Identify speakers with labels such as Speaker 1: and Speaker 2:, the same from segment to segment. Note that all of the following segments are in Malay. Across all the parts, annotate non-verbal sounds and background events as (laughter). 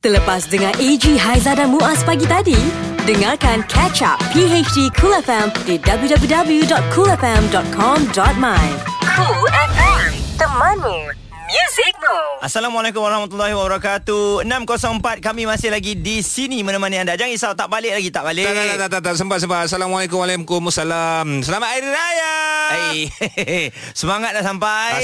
Speaker 1: Terlepas dengar AG Haiza dan Muaz pagi tadi, dengarkan catch up PHD Cool FM di www.coolfm.com.my. Cool FM, temanmu, muzikmu.
Speaker 2: Assalamualaikum warahmatullahi wabarakatuh 604 kami masih lagi di sini menemani anda Jangan risau tak balik lagi tak balik
Speaker 3: Tak, tak, tak, tak, tak, tak. Sempat, sempat. Assalamualaikum, Waalaikumsalam. Selamat Hari Raya.
Speaker 2: Hey, (laughs) semangat dah sampai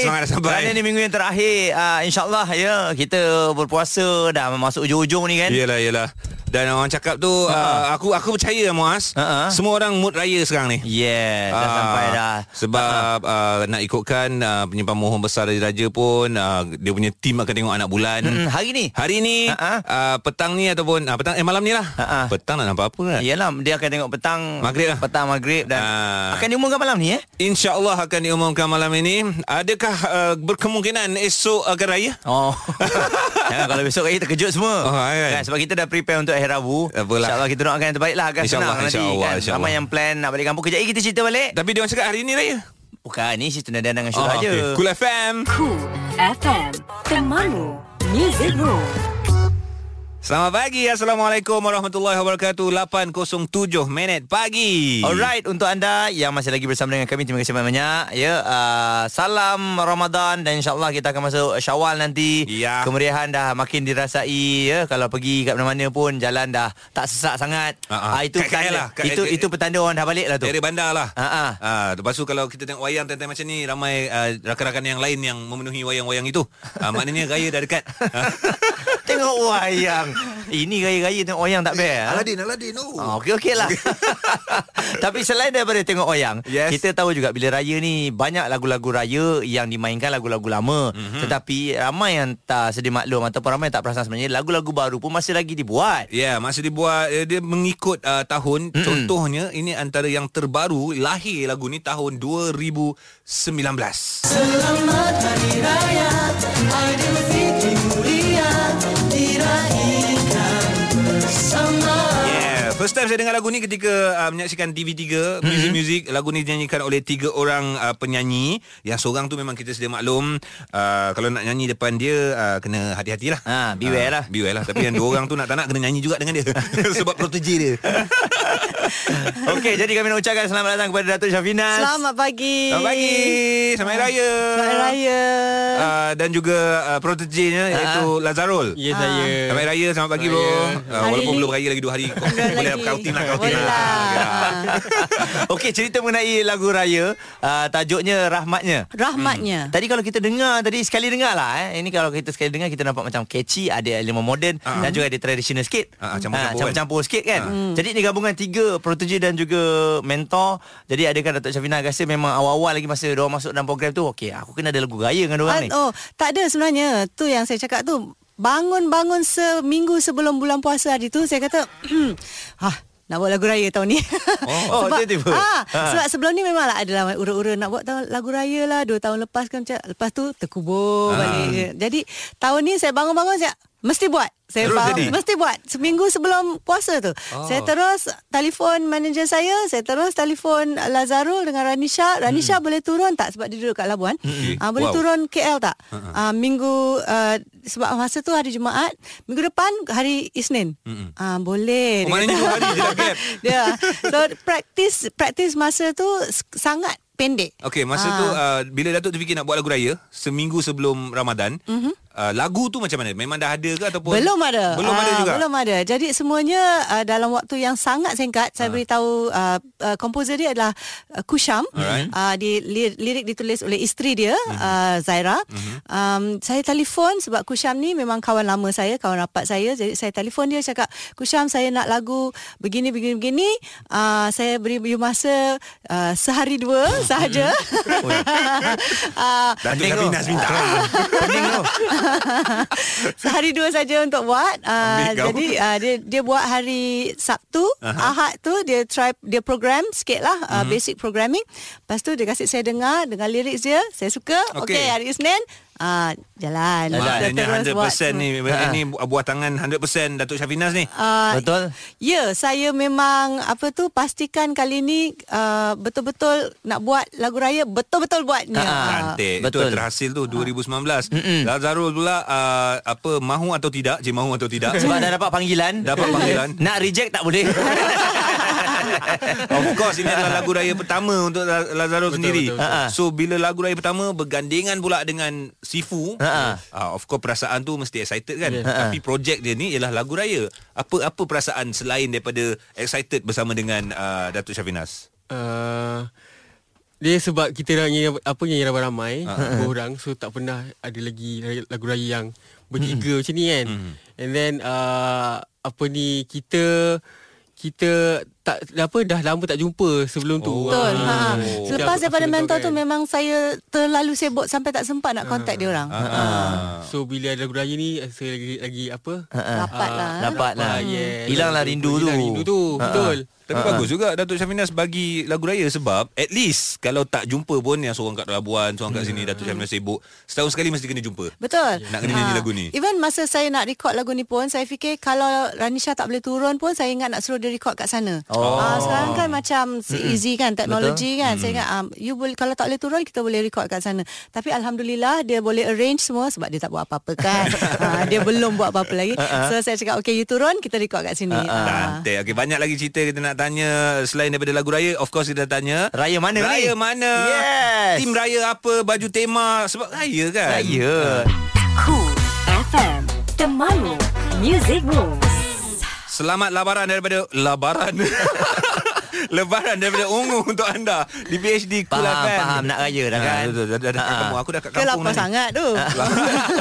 Speaker 3: Ah, semangat dah sampai.
Speaker 2: Kerana ni minggu yang terakhir uh, InsyaAllah ya Kita berpuasa Dah masuk hujung-hujung ni kan
Speaker 3: Yelah, yelah. Dan orang cakap tu,
Speaker 2: Ha,
Speaker 3: uh, aku aku percaya Muaz,
Speaker 2: Ha-ha.
Speaker 3: semua orang mood raya sekarang ni.
Speaker 2: Yeah Ha, Ya, Dah
Speaker 3: Ah,
Speaker 2: sampai dah Ha,
Speaker 3: Sebab uh, nak ikutkan uh, penyimpan mohon besar dari Raja pun, uh, dia punya tim akan tengok anak bulan.
Speaker 2: hmm, Ha, Hari ni
Speaker 3: Hari ni,
Speaker 2: Ha-ha.
Speaker 3: uh, petang ni ataupun, uh, petang, eh malam ni lah.
Speaker 2: Ha-ha.
Speaker 3: Petang nak nampak apa kan?
Speaker 2: Yelah dia akan tengok petang
Speaker 3: Maghrib lah.
Speaker 2: Petang maghrib dan
Speaker 3: Ah.
Speaker 2: Akan diumumkan malam ni eh
Speaker 3: InsyaAllah akan diumumkan malam ini. Adakah uh, berkemungkinan esok akan raya?
Speaker 2: (laughs) Oh Jangan Ya, kalau besok lagi terkejut semua
Speaker 3: Oh, kan?
Speaker 2: Sebab kita dah prepare untuk hari Rabu
Speaker 3: Apalah.
Speaker 2: InsyaAllah kita doakan yang terbaik lah Agak
Speaker 3: InsyaAllah,
Speaker 2: senang nanti
Speaker 3: insyaAllah,
Speaker 2: kan
Speaker 3: insyaAllah.
Speaker 2: Ramai yang plan nak balik kampung Kejap lagi kita cerita balik
Speaker 3: Tapi dia orang cakap hari ni raya.
Speaker 2: Bukan ni cerita Nada dengan Syurah oh, je
Speaker 3: Ah, okey. Cool FM.
Speaker 1: Cool FM, temanmu, muzikmu.
Speaker 3: Selamat pagi. Assalamualaikum warahmatullahi wabarakatuh. 8.07 minit pagi.
Speaker 2: Alright untuk anda yang masih lagi bersama dengan kami terima kasih banyak ya uh, salam Ramadan dan insyaallah kita akan masuk Syawal nanti
Speaker 3: Ya.
Speaker 2: kemeriahan dah makin dirasai ya kalau pergi kat mana-mana pun jalan dah tak sesak sangat
Speaker 3: Ha, ha.
Speaker 2: Ah, itu
Speaker 3: Kat KL
Speaker 2: petanda,
Speaker 3: lah. Kat-
Speaker 2: itu
Speaker 3: kat-
Speaker 2: itu petanda orang dah balik lah tu
Speaker 3: Daerah bandar lah.
Speaker 2: Ha, ha.
Speaker 3: Ah, lepas tu kalau kita tengok wayang time-time macam ni ramai ah, rakan-rakan yang lain yang memenuhi wayang-wayang itu. Ah, maknanya raya dah (laughs) dekat. Ah.
Speaker 2: tengok wayang ini gaya-gaya tengok wayang tak best ha?
Speaker 3: Aladin. Oh.
Speaker 2: Oh, okey okey
Speaker 4: (laughs)
Speaker 2: lah. Tapi selain daripada tengok wayang,
Speaker 3: Yes.
Speaker 2: kita tahu juga bila raya ni banyak lagu-lagu raya yang dimainkan lagu-lagu lama.
Speaker 4: Mhm.
Speaker 2: Mm-hmm. Tetapi ramai yang tak sedia maklum ataupun ramai yang tak perasan sebenarnya lagu-lagu baru pun masih lagi dibuat.
Speaker 3: Ya, yeah, masa dibuat eh, dia mengikut uh, tahun. Mm-mm. Contohnya ini antara yang terbaru lahir lagu ni tahun 2019. Yeah, First time saya dengar lagu ni ketika uh, menyaksikan TV3
Speaker 2: Mm-hmm.
Speaker 3: Music Music Lagu ni dinyanyikan oleh tiga orang uh, penyanyi Yang seorang tu memang kita sedia maklum uh, Kalau nak nyanyi depan dia uh, Kena hati-hatilah
Speaker 2: Ha, beware
Speaker 3: Ah,
Speaker 2: lah.
Speaker 3: Beware lah Tapi yang dua orang tu nak tak nak Kena nyanyi juga
Speaker 2: (laughs)
Speaker 3: dengan dia Sebab proteji (laughs) dia
Speaker 2: okey, jadi kami nak ucapkan selamat datang kepada Datuk Syafinas.
Speaker 5: Selamat pagi.
Speaker 3: Selamat pagi Selamat Hari Raya
Speaker 5: Selamat Hari Raya.
Speaker 3: uh, Dan juga uh,
Speaker 2: Ha,
Speaker 3: protejinya Iaitu Lazarul
Speaker 4: Ya saya
Speaker 3: Selamat Hari Raya, selamat pagi bro uh,
Speaker 5: Hari
Speaker 3: Walaupun
Speaker 5: ni-
Speaker 3: belum raya lagi dua hari
Speaker 5: (laughs)
Speaker 3: kau-
Speaker 5: Bulan
Speaker 3: Boleh
Speaker 5: lagi.
Speaker 3: kautin lah kautin
Speaker 5: Boleh
Speaker 3: lah
Speaker 5: lah.
Speaker 2: (laughs) okey, cerita mengenai lagu raya, uh, tajuknya Rahmatnya.
Speaker 5: Rahmatnya.
Speaker 2: Ah. Tadi kalau kita dengar Tadi sekali dengar lah eh. Ini kalau kita sekali dengar Kita nampak macam catchy Ada elemen moden uh-huh. Dan juga ada traditional sikit
Speaker 3: Ah, ah,
Speaker 2: Ah,
Speaker 3: campur-campur kan?
Speaker 2: Campur-campur sikit kan uh-huh. Jadi ni gabungan tiga Protege dan juga mentor Jadi adakah Datuk Syafina rasa Memang awal-awal lagi Masa diorang masuk dalam program tu Okey aku kena ada lagu raya dengan diorang ni
Speaker 5: Ah, Oh, tak ada sebenarnya. Tu yang saya cakap tu. Bangun-bangun seminggu sebelum bulan puasa hari tu saya kata, (clears throat) "Hah, nak buat lagu raya tahun ni."
Speaker 2: Oh, oh,
Speaker 5: (laughs)
Speaker 2: tiba-tiba.
Speaker 5: Ah,
Speaker 2: Ha.
Speaker 5: sebab sebelum ni memang lah adalah ura-ura nak buat tahun, lagu raya lah dua tahun lepas kan macam lepas tu terkubur
Speaker 2: Ah.
Speaker 5: balik. je. Jadi tahun ni saya bangun-bangun saya mesti buat. Saya
Speaker 3: Terus
Speaker 5: faham,
Speaker 3: jadi?
Speaker 5: mesti buat seminggu sebelum puasa tu. Oh. Saya terus telefon manager saya, saya terus telefon Lazarul dengan Ranisha.
Speaker 2: Hmm.
Speaker 5: Ranisha boleh turun tak sebab dia duduk kat Labuan?
Speaker 3: Hmm.
Speaker 5: Ah, boleh
Speaker 3: Wow.
Speaker 5: turun turun KL tak? Uh-huh. Uh, minggu uh, sebab masa tu hari Jumaat, minggu depan hari Isnin. Uh-huh. Uh, boleh.
Speaker 3: Oh, maknanya dua hari je dah gap.
Speaker 5: (laughs) Ya. So practice practice masa tu s- sangat pendek.
Speaker 3: Okey, masa
Speaker 5: Ah.
Speaker 3: tu uh, bila Datuk terfikir nak buat lagu raya seminggu sebelum Ramadan, mm-hmm. uh, lagu tu macam mana? Memang dah ada ke ataupun
Speaker 5: Mhm. Belum ada.
Speaker 3: Belum ada
Speaker 5: Ah,
Speaker 3: juga.
Speaker 5: Belum ada. Jadi semuanya uh, dalam waktu yang sangat singkat.
Speaker 3: Ah.
Speaker 5: Saya beritahu uh, uh, komposer dia adalah uh, Kusham.
Speaker 3: Alright. Mhm.
Speaker 5: Uh, di li, lirik ditulis oleh isteri dia uh, Zaira. Um, saya telefon sebab Kusham ni memang kawan lama saya, kawan rapat saya. Jadi saya telefon dia cakap, "Kusham, saya nak lagu begini begini begini. Uh, saya beri you masa uh, sehari
Speaker 3: (laughs)
Speaker 5: dua sahaja." (laughs) uh,
Speaker 3: Datuk
Speaker 2: Pening tu.
Speaker 3: Sabinas minta.
Speaker 2: Pening tu
Speaker 5: (laughs) Sehari dua saja untuk buat. Uh,
Speaker 3: Ambil kau.
Speaker 5: jadi uh, dia dia buat hari Sabtu, Ahad tu dia try dia program sikit lah uh,
Speaker 3: Mhm.
Speaker 5: basic programming. Lepas tu dia kasih saya dengar dengan lirik dia, saya suka.
Speaker 3: Okey.
Speaker 5: Okey, okay, hari Isnin Ah, jalan. Kita terus
Speaker 3: Maknanya 100%
Speaker 5: buat Ah. tu.
Speaker 3: ni
Speaker 2: Ha.
Speaker 3: Ini bu- buah tangan 100% Datuk Syafinas ni
Speaker 5: Ah,
Speaker 2: Betul?
Speaker 5: Ya, saya memang apa tu pastikan kali ni uh, betul-betul nak buat lagu raya betul-betul buat ni.
Speaker 2: Ah,
Speaker 5: Ah,
Speaker 3: Cantik Betul
Speaker 2: Betul.
Speaker 3: Itu terhasil tu 2019 Lazarul pula uh, Apa Mahu atau tidak Cik mahu atau tidak
Speaker 2: Sebab dah dapat panggilan
Speaker 3: Dapat panggilan.
Speaker 2: (laughs) Nak reject tak
Speaker 3: (laughs)
Speaker 2: boleh
Speaker 3: Of course Ini adalah lagu raya pertama Untuk La- Lazarus sendiri
Speaker 2: betul, betul.
Speaker 3: So bila lagu raya pertama Bergandengan pula dengan Sifu
Speaker 2: Ha-ha.
Speaker 3: uh, Of course perasaan tu Mesti excited kan Tapi projek dia ni Ialah lagu raya Apa-apa perasaan Selain daripada Excited bersama dengan uh, Datuk Syafinas
Speaker 4: Uh, dia sebab kita orang nyanyi apa nyanyi ramai-ramai
Speaker 2: Ah.
Speaker 4: uh-huh. orang so tak pernah ada lagi lagu raya yang bertiga macam ni kan. And then uh, apa ni kita kita tak apa dah lama tak jumpa sebelum tu.
Speaker 2: Oh.
Speaker 5: Betul. Ha.
Speaker 4: Ah.
Speaker 5: Selepas
Speaker 4: Aku- aku
Speaker 5: daripada
Speaker 4: dah
Speaker 5: mentor
Speaker 4: tahu
Speaker 5: tu
Speaker 4: kan.
Speaker 3: eh.
Speaker 5: memang saya terlalu sibuk sampai tak sempat
Speaker 3: Ha,
Speaker 5: nak kontak dia orang.
Speaker 2: Ah.
Speaker 3: uh.
Speaker 4: So bila ada lagu raya ni saya lagi lagi apa? Ah,
Speaker 5: Dapat lah. eh.
Speaker 2: Ha, Dapat lah
Speaker 4: yes.
Speaker 2: Hilanglah rindu tu Ha,
Speaker 4: Hilang rindu tu. Betul.
Speaker 3: Tapi uh-huh. bagus juga Datuk Syafinas bagi lagu raya sebab at least kalau tak jumpa pun yang seorang kat Labuan, seorang kat sini
Speaker 2: Hmm.
Speaker 3: Datuk Syafinas sibuk, setahun sekali mesti kena jumpa.
Speaker 5: Betul.
Speaker 3: Nak kena nyanyi
Speaker 5: Ah,
Speaker 3: lagu ni.
Speaker 5: Even masa saya nak record lagu ni pun saya fikir kalau Ranisha tak boleh turun pun saya ingat nak suruh dia record kat sana.
Speaker 2: Oh.
Speaker 5: Ah, sekarang kan macam easy kan teknologi kan. Saya ingat um, you boleh kalau tak boleh turun kita boleh record kat sana. Tapi alhamdulillah dia boleh arrange semua sebab dia tak buat apa-apa kan.
Speaker 3: (laughs)
Speaker 5: Ah, dia belum buat apa-apa
Speaker 3: Ha,
Speaker 5: lagi. So saya cakap okay you turun kita record kat sini. Ah.
Speaker 3: Cantik. Okey, banyak lagi cerita kita nak tanya selain daripada lagu raya. Of course kita tanya
Speaker 2: Raya mana ni?
Speaker 3: Raya mana?
Speaker 2: Yes.
Speaker 3: Tim raya apa? Baju tema sebab raya kan.
Speaker 2: Raya
Speaker 1: Cool FM Temanmu Music Rules
Speaker 3: Selamat labaran daripada labaran. (laughs) Lebaran daripada Ungu untuk anda di PhD Kul
Speaker 2: Faham,
Speaker 3: FM.
Speaker 2: faham. Nak raya dah kan?
Speaker 3: Ha, betul, lah kan? dah, dah, dah, kat kampung. Aku dah kat
Speaker 5: Ke
Speaker 3: kampung
Speaker 5: lapar
Speaker 3: dah ni. Ha.
Speaker 5: sangat tu.
Speaker 3: (laughs)
Speaker 5: (laughs)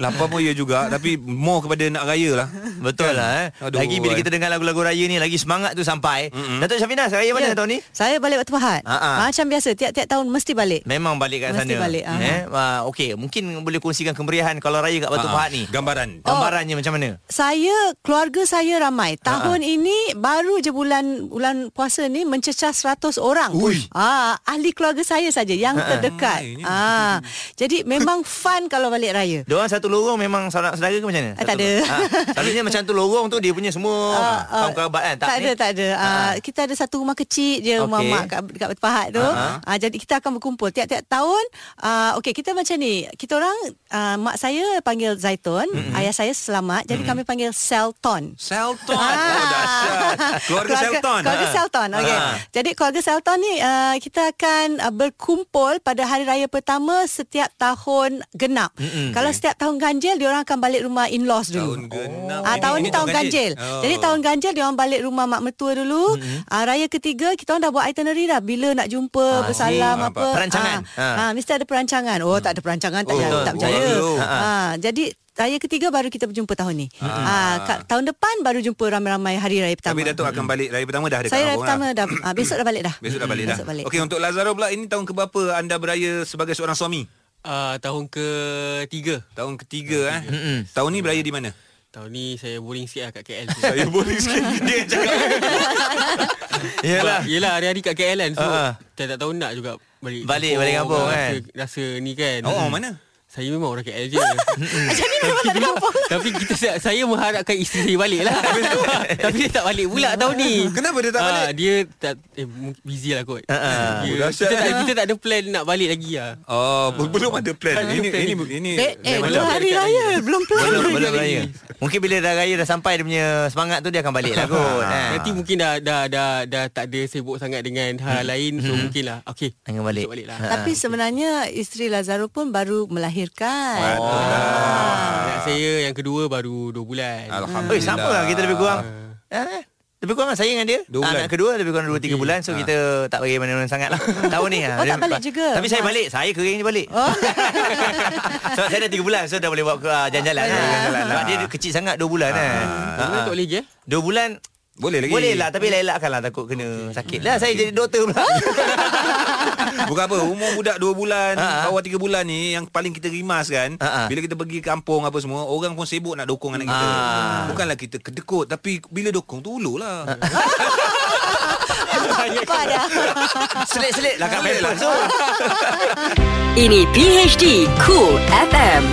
Speaker 3: Lapar pun ya juga Tapi more kepada nak raya lah
Speaker 2: Betul lah eh.
Speaker 3: Aduh.
Speaker 2: Lagi bila kita dengar lagu-lagu raya ni Lagi semangat tu sampai mm-hmm. Datuk Syafinas Raya mana
Speaker 5: Ya.
Speaker 2: tahun ni?
Speaker 5: Saya balik waktu Pahat.
Speaker 2: Ah, ah.
Speaker 5: Macam biasa tiap-tiap tahun mesti balik.
Speaker 2: Memang balik kat
Speaker 5: Mesti
Speaker 2: sana
Speaker 5: balik, ah.
Speaker 2: eh? uh, Okey Mungkin boleh kongsikan kemeriahan Kalau raya kat
Speaker 3: Ah,
Speaker 2: Batu uh Pahat ni
Speaker 3: Gambaran
Speaker 2: Gambarannya macam mana?
Speaker 5: Saya keluarga saya ramai. Tahun ini baru je bulan bulan puasa ni mencecah 100 orang.
Speaker 2: Ui.
Speaker 5: Ah, ahli keluarga saya saja yang terdekat. Ah. Jadi memang fun kalau balik raya.
Speaker 2: Diorang satu lorong memang saudara, saudara ke macam mana?
Speaker 5: Ah, tak
Speaker 2: Satu
Speaker 5: ada.
Speaker 2: lorong. Ah, Selalunya macam tu lorong tu dia punya semua
Speaker 5: (laughs) Ah, ah,
Speaker 2: kaum kerabat kan?
Speaker 5: tak
Speaker 2: ni?
Speaker 5: ada tak ada. Ah, kita ada satu rumah kecil je rumah
Speaker 2: Okey.
Speaker 5: mak kat dekat Batu Pahat tu.
Speaker 2: Ah.
Speaker 5: Ah, jadi kita akan berkumpul tiap-tiap tahun. Ah okey kita macam ni. Kita orang ah, mak saya panggil Zaitun, ayah saya Selamat. Jadi kami panggil Selton. Ah.
Speaker 3: Selton Oh dahsyat Keluarga Selton
Speaker 5: Keluarga
Speaker 3: Ha.
Speaker 5: Selton. Okey.
Speaker 2: Ah.
Speaker 5: Jadi keluarga Selton ni uh, kita akan uh, berkumpul pada hari raya pertama setiap tahun genap. Mm-hmm. Kalau setiap tahun ganjil diorang akan balik rumah in-laws dulu.
Speaker 3: Tahun genap.
Speaker 5: Ah
Speaker 3: Ini-
Speaker 5: tahun
Speaker 3: ini
Speaker 5: ni tahun ganjil.
Speaker 3: Oh.
Speaker 5: Jadi tahun ganjil diorang balik rumah mak mertua dulu. Mm-hmm. Uh, raya ketiga kita orang dah buat itinerary dah bila nak
Speaker 3: Ah,
Speaker 5: jumpa, bersalam
Speaker 2: see.
Speaker 5: apa.
Speaker 2: Perancangan.
Speaker 5: Ah,
Speaker 2: Ah.
Speaker 5: ah, mesti ada perancangan. Oh tak ada perancangan tak
Speaker 3: Oh,
Speaker 5: jadi
Speaker 3: betul.
Speaker 5: tak percaya.
Speaker 3: Betul.
Speaker 5: Ah, jadi raya ketiga baru kita berjumpa tahun ni.
Speaker 3: Hmm.
Speaker 5: Ah kat- tahun depan baru jumpa ramai-ramai hari raya pertama.
Speaker 3: Tapi Datuk akan balik Raya pertama dah dekat
Speaker 5: Saya dah
Speaker 3: kampung
Speaker 5: pertama
Speaker 3: lah.
Speaker 5: dah ah, Besok dah balik dah
Speaker 3: Besok dah balik dah
Speaker 5: Besok balik
Speaker 3: Okey untuk Lazaro pula Ini tahun keberapa anda beraya Sebagai seorang suami
Speaker 4: Uh, tahun ketiga.
Speaker 3: Tahun ketiga eh Tahun ni beraya di mana
Speaker 4: Tahun ni saya boring sikit lah kat KL.
Speaker 2: (laughs)
Speaker 3: Saya Ya, boleh sikit Dia cakap
Speaker 2: Yelah
Speaker 4: Yelah Yelah hari-hari kat KL kan So
Speaker 2: Ah, ah.
Speaker 4: uh-huh. Tak tahu nak juga Balik
Speaker 2: Balik- balik kampung, kan?
Speaker 4: rasa, rasa ni kan
Speaker 3: Oh, orang mana? Hmm,
Speaker 4: Saya memang orang KL
Speaker 3: (laughs)
Speaker 4: je (laughs) Jadi memang tak ada kampung Tapi kita saya- Saya mengharapkan isteri saya balik
Speaker 2: (laughs)
Speaker 4: lah Tapi dia tak balik pula tahun ni
Speaker 3: Kenapa dia tak
Speaker 4: Ah,
Speaker 3: balik?
Speaker 4: Dia tak eh, mung- Busy lah kot
Speaker 2: ah.
Speaker 4: Dia-
Speaker 3: Oh, dahsyat.
Speaker 4: kita, tak, kita tak ada plan nak balik lagi lah
Speaker 3: Oh, be- belum ada plan.
Speaker 4: Belum
Speaker 3: Ini
Speaker 4: ada plan.
Speaker 3: ini ini.
Speaker 5: Eh, eh
Speaker 3: memang
Speaker 5: dua
Speaker 3: dah-
Speaker 5: hari raya Belum
Speaker 3: ya.
Speaker 5: plan
Speaker 2: Belum, belum raya Mungkin bila dah raya dah sampai Dia punya semangat tu Dia akan balik lah
Speaker 3: (laughs)
Speaker 2: kot eh.
Speaker 4: Nanti mungkin dah dah, dah dah tak ada sibuk sangat dengan hal lain So mungkin lah Okay
Speaker 2: Jangan Hmm. balik.
Speaker 4: besok balik lah
Speaker 3: Ah.
Speaker 5: Tapi sebenarnya Isteri Lazaro pun baru melahirkan Ah.
Speaker 3: Betul lah.
Speaker 2: Ah.
Speaker 4: Anak saya yang kedua baru 2 bulan
Speaker 3: Alhamdulillah.
Speaker 2: Eh sama lah kita lebih kurang eh, Lebih kurang lah saya dengan dia
Speaker 3: Dua bulan.
Speaker 2: Anak kedua lebih kurang 2-3 bulan So kita tak bagi mana-mana sangat lah Tahun ni
Speaker 5: Oh, tak balik juga?
Speaker 2: Tapi saya balik Saya kering je balik oh. (laughs) Sebab saya dah 3 bulan So dah boleh buat keluar jalan-jalan kan. Sebab dia kecil sangat 2 bulan kan
Speaker 4: Sebenarnya tak boleh je
Speaker 2: 2 bulan
Speaker 3: Boleh lagi.
Speaker 2: Boleh lah Tapi elak-elakkan lah Takut kena sakit Lah saya jadi doktor pula
Speaker 3: (laughs) Bukan apa Umur budak 2 bulan
Speaker 2: Ha, ha.
Speaker 3: Bawah 3 bulan ni Yang paling kita rimas kan
Speaker 2: Ha, ha.
Speaker 3: Bila kita pergi kampung Apa semua Orang pun sibuk nak dokong anak kita
Speaker 2: Ah.
Speaker 3: Bukanlah kita kedekut Tapi bila dokong tu ulu lah
Speaker 5: Apa dah?
Speaker 3: (laughs)
Speaker 2: Selit-selit lah kat paper tu.
Speaker 1: Ini PHD Cool FM.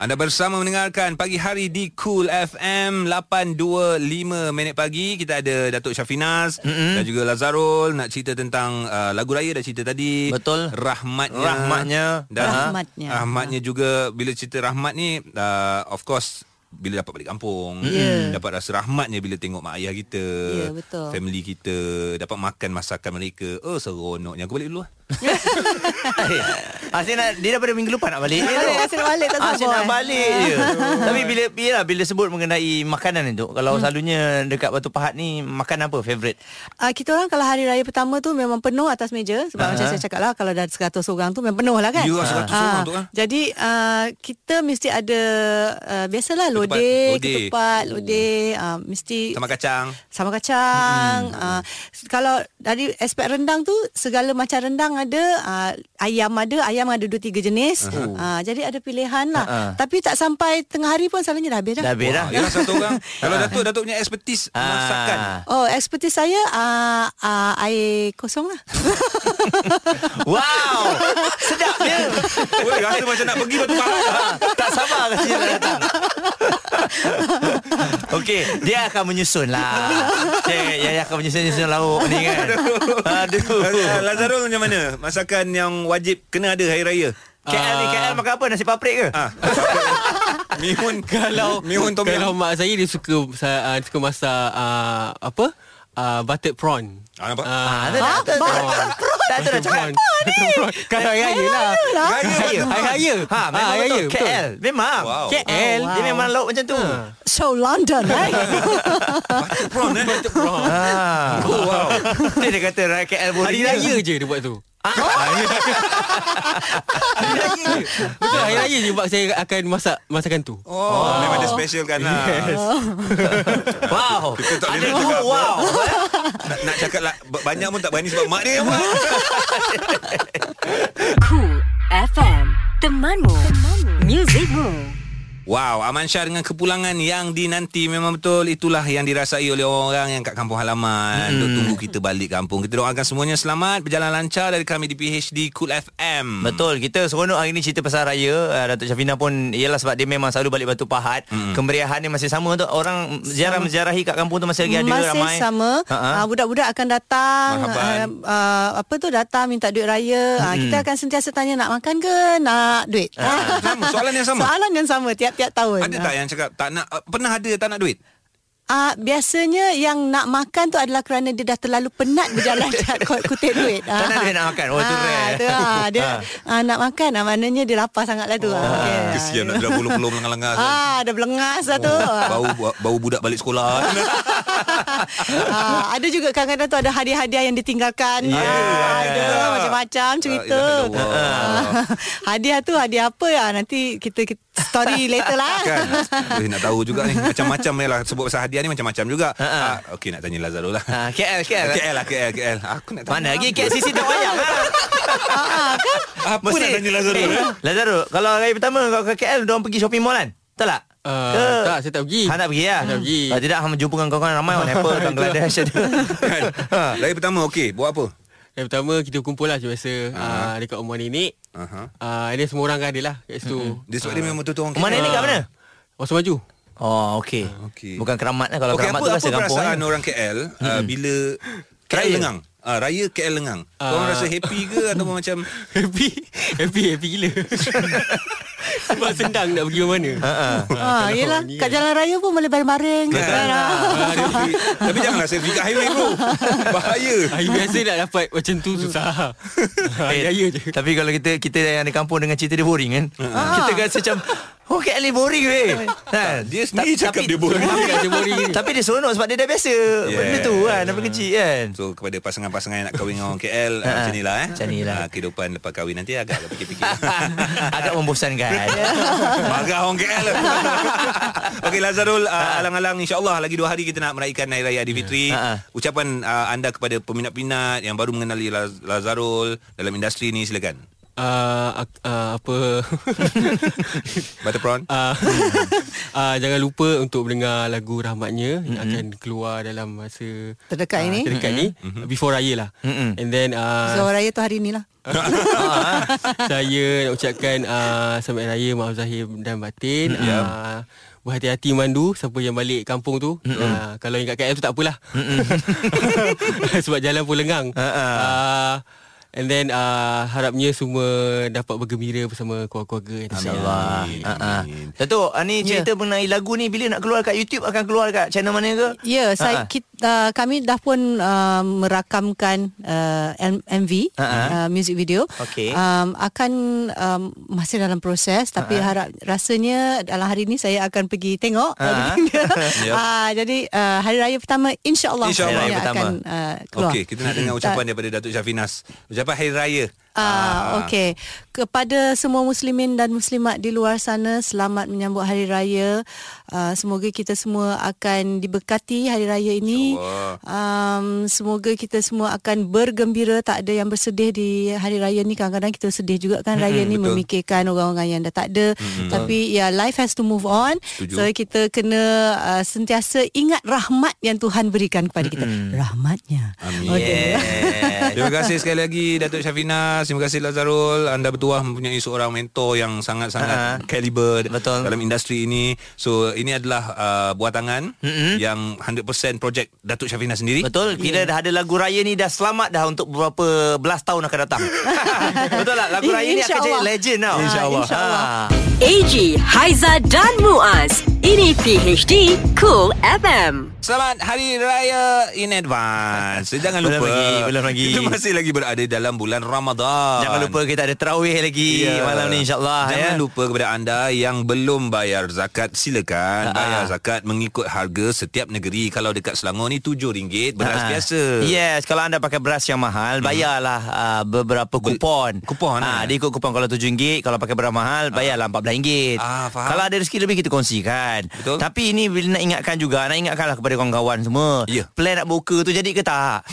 Speaker 3: Anda bersama mendengarkan pagi hari di Cool FM 8.25 minit pagi. Kita ada Datuk Syafinas mm-hmm. dan juga Lazarul nak cerita tentang uh, lagu raya dah cerita tadi.
Speaker 2: Betul.
Speaker 3: Rahmatnya.
Speaker 2: Rahmatnya.
Speaker 3: Dan
Speaker 5: Rahmatnya.
Speaker 3: Rahmatnya juga bila cerita rahmat ni uh, of course bila dapat balik kampung yeah. dapat rasa rahmatnya bila tengok mak ayah kita
Speaker 5: Ya, betul.
Speaker 3: family kita dapat makan masakan mereka oh seronoknya aku balik
Speaker 5: (laughs)
Speaker 3: dulu lah
Speaker 2: Asyik nak Dia daripada minggu lepas nak balik dia tu.
Speaker 5: Asyik- asyik nak balik, tak sabar,
Speaker 2: Asyik nak
Speaker 5: eh.
Speaker 2: balik je Tapi bila Yelah bila sebut mengenai Makanan itu Kalau selalunya Dekat Batu Pahat ni Makan apa favourite
Speaker 5: Uh, kita orang kalau hari raya pertama tu memang penuh atas meja sebab
Speaker 2: Ah.
Speaker 5: uh-huh. macam saya cakap lah kalau dah 100 orang tu memang penuh lah kan.
Speaker 3: Ya, 100
Speaker 5: Ah.
Speaker 3: orang tu kan.
Speaker 5: Jadi uh, kita mesti ada uh, biasalah
Speaker 3: Ketupat,
Speaker 5: lodeh,
Speaker 3: lodeh.
Speaker 5: ketupat, lodeh, uh, mesti
Speaker 3: sama kacang
Speaker 5: sama kacang. Hmm. Uh, kalau dari aspek rendang tu segala macam rendang ada, uh, ayam ada, ayam ada dua tiga jenis. Uh-huh. Uh, jadi ada pilihan lah.
Speaker 2: Ah, ah.
Speaker 5: Uh-huh. Tapi tak sampai tengah hari pun selalunya dah habis dah.
Speaker 2: Dah habis dah
Speaker 3: Wah, ya satu
Speaker 2: (laughs)
Speaker 3: orang kalau Datuk Datuk punya expertise masakan
Speaker 2: Ah.
Speaker 5: Oh, expertise saya uh, uh, air kosong lah.
Speaker 2: Wow Sedap dia
Speaker 3: Weh, rasa macam nak pergi batu lah. pahat
Speaker 2: Ah, Tak sabar rasanya nak datang Okey Dia akan menyusun lah Dia, dia akan menyusun-nyusun lauk ni kan Aduh
Speaker 3: Laz- Lazarul Eh, macam mana? Masakan yang wajib kena ada Hari Raya?
Speaker 2: KL ni KL makan apa Nasi paprik ke
Speaker 3: Ah. Mihun
Speaker 4: Kalau
Speaker 3: Ah. Mihun tom
Speaker 4: Kalau
Speaker 3: yum.
Speaker 4: mak saya dia suka uh, suka masak uh, apa? Uh, buttered prawn.
Speaker 3: Ah, nampak?
Speaker 4: Ah,
Speaker 2: Ah, tu dah- tu- Tak tu dah cakap
Speaker 4: Buttered prawn. Kalau hari raya lah.
Speaker 3: Raya
Speaker 4: Hari raya. Ah,
Speaker 2: Ha, memang
Speaker 4: Hari
Speaker 2: betul.
Speaker 4: raya, betul.
Speaker 2: KL. Memang.
Speaker 3: Wow.
Speaker 2: KL.
Speaker 5: Oh, wow.
Speaker 2: Dia memang lauk macam tu.
Speaker 5: (laughs) So
Speaker 3: (laughs)
Speaker 5: London, right?
Speaker 3: Butter prawn eh
Speaker 4: Prawn.
Speaker 2: Ah.
Speaker 3: Oh wow
Speaker 2: Dia, dia kata "Ra- KL boring.
Speaker 4: Hari raya je dia buat tu. Hari raya je. Betul hari raya je buat saya akan masak masakan tu.
Speaker 3: Oh, memang ada special kan lah.
Speaker 2: Wow.
Speaker 3: Kita tak boleh
Speaker 2: Ada
Speaker 3: nak cakap
Speaker 2: dua
Speaker 3: apa. (laughs)
Speaker 2: wow.
Speaker 3: Nak, nak cakap lah, ba- banyak pun tak berani sebab mak dia yang buat.
Speaker 1: Cool FM. Temanmu. Temanmu. Musicmu.
Speaker 3: Wow, Aman Syah dengan kepulangan yang dinanti memang betul itulah yang dirasai oleh orang-orang yang kat kampung halaman. Duk tunggu kita balik kampung. Kita doakan semuanya selamat, berjalan lancar dari kami di PHD Cool FM.
Speaker 2: Betul Kita seronok hari ni Cerita pasal raya uh, Datuk Syafina pun Ialah sebab dia memang Selalu balik Batu Pahat mm. Kemeriahan dia masih sama tu Orang ziarah-menziarahi Kat kampung tu Masih
Speaker 3: Ya,
Speaker 2: lagi ada
Speaker 5: Masih
Speaker 2: ramai
Speaker 5: sama
Speaker 2: Ha-ha.
Speaker 5: uh, Budak-budak akan datang
Speaker 3: Marhaban.
Speaker 5: uh, uh, Apa tu datang minta duit raya uh, Kita akan sentiasa tanya nak makan ke nak duit
Speaker 3: Ah, sama. Soalan yang sama?
Speaker 5: Soalan yang sama tiap-tiap tahun
Speaker 3: Ada tak yang cakap tak nak
Speaker 2: eh,
Speaker 3: uh, pernah ada tak nak duit?
Speaker 5: Uh, biasanya yang nak makan tu adalah kerana dia dah terlalu penat
Speaker 3: (laughs)
Speaker 5: berjalan kat kot- kutip duit.
Speaker 2: Tak nak duit nak makan. Oh, tu
Speaker 5: Ah,
Speaker 2: rare.
Speaker 5: tu ah, dia
Speaker 2: Ah.
Speaker 5: ah, nak makan ah, maknanya dia lapar sangatlah tu. Ah, okay.
Speaker 3: Oh, Eh, Kesian Oh. nak bilang bulu-bulu melengah-lengah.
Speaker 5: Ah, dah belengas lah tu.
Speaker 3: Bau bau budak balik
Speaker 2: (laughs)
Speaker 3: sekolah.
Speaker 2: Kan?
Speaker 5: (laughs) ah, ada juga kadang-kadang tu ada hadiah-hadiah yang ditinggalkan.
Speaker 3: Ya,
Speaker 5: ah, ada
Speaker 3: ya.
Speaker 5: macam-macam cerita.
Speaker 3: Ah, ilah, ilah, Allah.
Speaker 5: Ah, hadiah tu hadiah apa ya? Nanti kita, kita story
Speaker 3: (laughs)
Speaker 5: later lah.
Speaker 3: kan Boleh nak tahu juga ni Macam-macam ni lah Sebut pasal hadiah ni Macam-macam juga
Speaker 2: Ah,
Speaker 3: uh, Okey nak tanya Lazaro lah
Speaker 2: ha, KL KL,
Speaker 3: KL lah KL KL Aku nak tanya
Speaker 2: Mana lagi KLCC tak payah
Speaker 3: (laughs)
Speaker 2: lah
Speaker 3: Apa nak
Speaker 2: Mesti-
Speaker 3: tanya Lazaro
Speaker 2: Eh,
Speaker 3: eh?
Speaker 2: Lazarus Kalau hari pertama Kau ke KL Diorang pergi shopping mall kan Betul tak?
Speaker 4: Ah,
Speaker 2: Ke?
Speaker 4: tak, saya tak pergi.
Speaker 2: Ha, tak pergi lah
Speaker 4: Tak pergi.
Speaker 2: Kalau tidak Hang jumpa dengan kawan-kawan ramai Orang Nepal Bangladesh ada
Speaker 3: Kan
Speaker 2: Ha.
Speaker 3: Lagi pertama okey Buat apa
Speaker 4: Yang pertama kita kumpul lah macam biasa uh, dekat rumah nenek.
Speaker 3: Aha.
Speaker 4: Ah, dia semua orang kan ada lah kat situ.
Speaker 3: Dia sebab dia memang betul-betul orang
Speaker 2: Ah. Mana ni kat mana?
Speaker 4: Masa maju.
Speaker 2: Oh okey
Speaker 3: Ah, okey.
Speaker 2: Bukan keramat lah Kalau
Speaker 3: Okey
Speaker 2: keramat
Speaker 3: apa,
Speaker 2: tu
Speaker 3: apa
Speaker 2: rasa kampung
Speaker 3: perasaan
Speaker 2: kan?
Speaker 3: orang KL uh, Bila KL
Speaker 2: Raya. Ah.
Speaker 3: Lengang Ah, Raya KL Lengang uh, Korang rasa happy ke Atau macam
Speaker 4: Happy Happy Happy gila (laughs) Sebab sedang nak pergi mana
Speaker 5: Ah, yelah, kat jalan raya pun boleh baring-baring.
Speaker 3: Kan?
Speaker 5: Kan? Ah.
Speaker 3: Ah, selfie. Tapi janganlah selfie kat highway bro Bahaya
Speaker 4: Hari biasa nak dapat macam tu susah (laughs) Eh, Hari raya je
Speaker 2: kan? Eh, Tapi kalau kita Kita yang di kampung Dengan cerita dia boring kan
Speaker 3: Ah.
Speaker 2: Kita rasa macam Oh KL ni boring
Speaker 3: (laughs)
Speaker 2: weh kan?
Speaker 3: Dia sendiri
Speaker 2: Ta-
Speaker 3: cakap
Speaker 2: tapi-
Speaker 3: dia boring.
Speaker 4: Tapi kat Jemori (laughs) ni
Speaker 2: Tapi dia seronok Sebab dia dah biasa Benda tu kan Dari kecil kan
Speaker 3: So kepada pasangan-pasangan yang nak kahwin dengan orang KL ah, Macam ni lah eh
Speaker 2: Macam ni lah.
Speaker 3: Ah, Kehidupan lepas kahwin nanti agak lah fikir-fikir
Speaker 2: (laughs) Agak
Speaker 3: (laughs)
Speaker 2: membosankan
Speaker 3: Marah orang
Speaker 2: (laughs)
Speaker 3: KL Okey Lazarul ah, Alang-alang insyaAllah Lagi dua hari kita nak meraihkan Hari Raya Adivitri
Speaker 2: Ah, ah.
Speaker 3: Ucapan ah, anda kepada peminat-peminat Yang baru mengenali Laz- Lazarul Dalam industri ni silakan
Speaker 4: uh, uh, apa (laughs)
Speaker 3: Butter prawn.
Speaker 4: uh, uh, jangan lupa untuk mendengar lagu rahmatnya mm-hmm. yang akan keluar dalam masa
Speaker 5: Terdekat ini.
Speaker 4: terdekat mm-hmm. ni before raya lah mm-hmm. and then
Speaker 3: Ah.
Speaker 5: So
Speaker 4: uh,
Speaker 5: raya tu hari ni lah
Speaker 4: Ah, saya nak ucapkan uh, selamat raya maaf zahir dan batin.
Speaker 2: Ya.
Speaker 4: Mm, yeah. uh, berhati-hati mandu siapa yang balik kampung tu. Mm-hmm. Uh, kalau yang kat KL tu tak apalah. (laughs) Sebab jalan pun lengang.
Speaker 2: ah.
Speaker 4: Uh, and then uh, harapnya semua dapat bergembira bersama keluarga-keluarga.
Speaker 2: InsyaAllah
Speaker 3: Amin.
Speaker 2: uh-uh. Datuk ah, Ni cerita yeah. mengenai lagu ni Bila nak keluar kat YouTube Akan keluar kat channel mana ke
Speaker 5: Ya, yeah,
Speaker 2: Ah,
Speaker 5: saya
Speaker 2: ah.
Speaker 5: kita, kami dah pun uh, merakamkan uh, M- MV
Speaker 2: Ah,
Speaker 5: uh, music video.
Speaker 2: Okey.
Speaker 5: Um, akan um, masih dalam proses tapi harap rasanya dalam hari ni saya akan pergi tengok
Speaker 2: Ah, ah.
Speaker 5: everything
Speaker 2: (laughs)
Speaker 5: dia.
Speaker 3: Yep.
Speaker 5: Ah, jadi uh, hari raya pertama insya-Allah
Speaker 3: InsyaAllah.
Speaker 5: saya
Speaker 2: Hari raya
Speaker 5: akan
Speaker 2: pertama. Hmm.
Speaker 5: uh, keluar. Hmm.
Speaker 3: Okey, kita nak dengar ucapan daripada Datuk Syafinas. Ucapan Hari Raya.
Speaker 5: Ah, okey. Kepada semua muslimin dan muslimat di luar sana, selamat menyambut hari raya. Uh, semoga kita semua akan diberkati hari raya ini.
Speaker 3: InsyaAllah.
Speaker 5: Um, semoga kita semua akan bergembira, tak ada yang bersedih di hari raya ni. Kadang-kadang kita sedih juga kan raya ni
Speaker 3: betul.
Speaker 5: memikirkan orang-orang yang dah tak ada. Mm-hmm. Tapi ya life has to move on.
Speaker 3: Setuju.
Speaker 5: So kita kena uh, sentiasa ingat rahmat yang Tuhan berikan kepada kita. Mm-hmm. Rahmatnya.
Speaker 3: Amin.
Speaker 5: Okey.
Speaker 2: Yeah.
Speaker 3: Terima kasih sekali lagi Datuk Syafinas Terima kasih Lazarul Anda bertuah mempunyai seorang mentor Yang
Speaker 2: Ha.
Speaker 3: sangat-sangat kaliber
Speaker 2: Betul.
Speaker 3: Dalam industri ini So ini adalah uh, Buah tangan mm-hmm. Yang 100% projek Datuk Syafinas sendiri
Speaker 2: Betul Bila dah ada lagu raya ni Dah selamat dah Untuk beberapa belas tahun akan datang (laughs) Betul lah Lagu raya ni akan jadi
Speaker 5: InsyaAllah.
Speaker 2: legend tau
Speaker 5: Ah,
Speaker 2: InsyaAllah
Speaker 5: insyaAllah.
Speaker 1: AG, Haiza dan Muaz. Ini PHD Cool FM.
Speaker 3: Selamat Hari Raya in advance Jangan
Speaker 2: Belum
Speaker 3: lupa
Speaker 2: lagi, belum lagi.
Speaker 3: Kita masih lagi berada dalam bulan Ramadan
Speaker 2: Jangan lupa kita ada terawih lagi yeah. Malam ni insyaAllah
Speaker 3: Jangan
Speaker 2: ya.
Speaker 3: lupa kepada anda yang belum bayar zakat silakan
Speaker 2: Ha-ha.
Speaker 3: bayar zakat mengikut harga setiap negeri. Kalau dekat Selangor ni RM7 beras
Speaker 2: Ah.
Speaker 3: biasa. Hmm.
Speaker 2: Yes Kalau anda pakai beras yang mahal Bayarlah uh, beberapa kupon
Speaker 3: kupon,
Speaker 2: Ah,
Speaker 3: eh?
Speaker 2: Dia ikut kupon Kalau RM7 Kalau pakai beras mahal Bayarlah RM14
Speaker 3: Ah, faham.
Speaker 2: Kalau ada rezeki lebih Kita kongsikan
Speaker 3: Betul.
Speaker 2: Tapi ini bila nak ingatkan juga Nak ingatkanlah kepada kawan-kawan semua
Speaker 3: Ya.
Speaker 2: Plan nak buka tu jadi
Speaker 3: (laughs)
Speaker 2: ke tak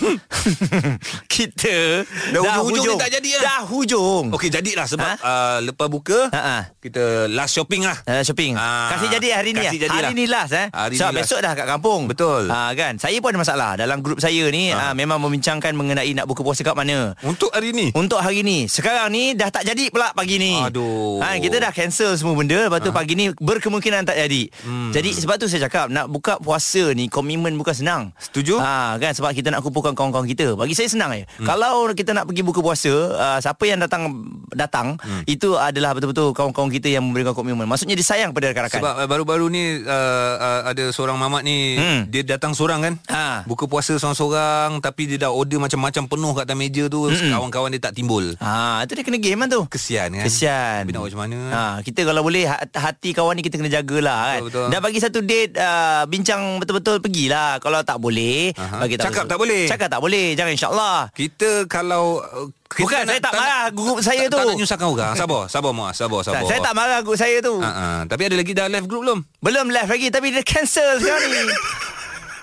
Speaker 2: Kita
Speaker 3: Dah hujung-hujung ni tak jadi, eh?
Speaker 2: Dah hujung
Speaker 3: Okey jadilah sebab
Speaker 2: Hmm. Ha?
Speaker 3: uh, lepas buka
Speaker 2: Ha-ha.
Speaker 3: kita last shopping
Speaker 2: (laughs)
Speaker 3: lah.
Speaker 2: Uh, shopping
Speaker 3: Ah,
Speaker 2: ah, Kasih jadi hari ni
Speaker 3: kasih
Speaker 2: Kasih
Speaker 3: jadilah.
Speaker 2: Hari ni last eh
Speaker 3: Hari
Speaker 2: Sebab
Speaker 3: ni last.
Speaker 2: besok dah kat kampung
Speaker 3: Betul.
Speaker 2: ah, kan? Saya pun ada masalah Dalam grup saya ni ah. Memang membincangkan mengenai Nak buka puasa kat mana
Speaker 3: Untuk hari ni.
Speaker 2: Untuk hari ni Sekarang ni Dah tak jadi pula pagi ni
Speaker 3: Aduh.
Speaker 2: ha, Kita dah cancel semua benda Lepas tu pagi ni Berkemungkinan tak jadi hmm. Jadi sebab tu saya cakap Nak buka puasa ni Komitmen bukan senang
Speaker 3: Setuju?
Speaker 2: ha, kan Sebab kita nak kumpulkan kawan-kawan kita Bagi saya senang je hmm. Kalau kita nak pergi buka puasa uh, Siapa yang datang Datang hmm. Itu adalah betul-betul Kawan-kawan kita yang memberikan komitmen Maksudnya disayang pada rakan-rakan
Speaker 3: Sebab uh, baru-baru ni uh, uh, ada seorang mamat ni
Speaker 2: Hmm.
Speaker 3: dia datang seorang kan.
Speaker 2: Ha.
Speaker 3: Buka puasa seorang-seorang tapi dia dah order macam-macam penuh kat atas meja tu
Speaker 2: Hmm.
Speaker 3: kawan-kawan dia tak timbul.
Speaker 2: Ha, itu dia kena game kan tu.
Speaker 3: Kesian kan.
Speaker 2: Kesian.
Speaker 3: Tapi nak buat macam mana?
Speaker 2: Ha, kita kalau boleh ha- hati kawan ni kita kena jagalah kan.
Speaker 3: Eh. Betul, betul.
Speaker 2: Dah bagi satu date uh, bincang betul-betul pergilah. Kalau tak boleh,
Speaker 3: Aha.
Speaker 2: bagi
Speaker 3: Cakap tak boleh.
Speaker 2: Cakap tak boleh. Jangan insya-Allah.
Speaker 3: Kita kalau uh, kita
Speaker 2: Bukan, saya tak marah group saya
Speaker 3: tak,
Speaker 2: tu.
Speaker 3: Tak nak nyusahkan orang Sabar Sabar Muaz Sabar sabar
Speaker 2: Saya tak marah group saya
Speaker 3: uh,
Speaker 2: tu.
Speaker 3: uh, Tapi ada lagi dah live group belum?
Speaker 2: Belum live lagi tapi dia cancel
Speaker 3: (laughs)
Speaker 2: sekarang ni.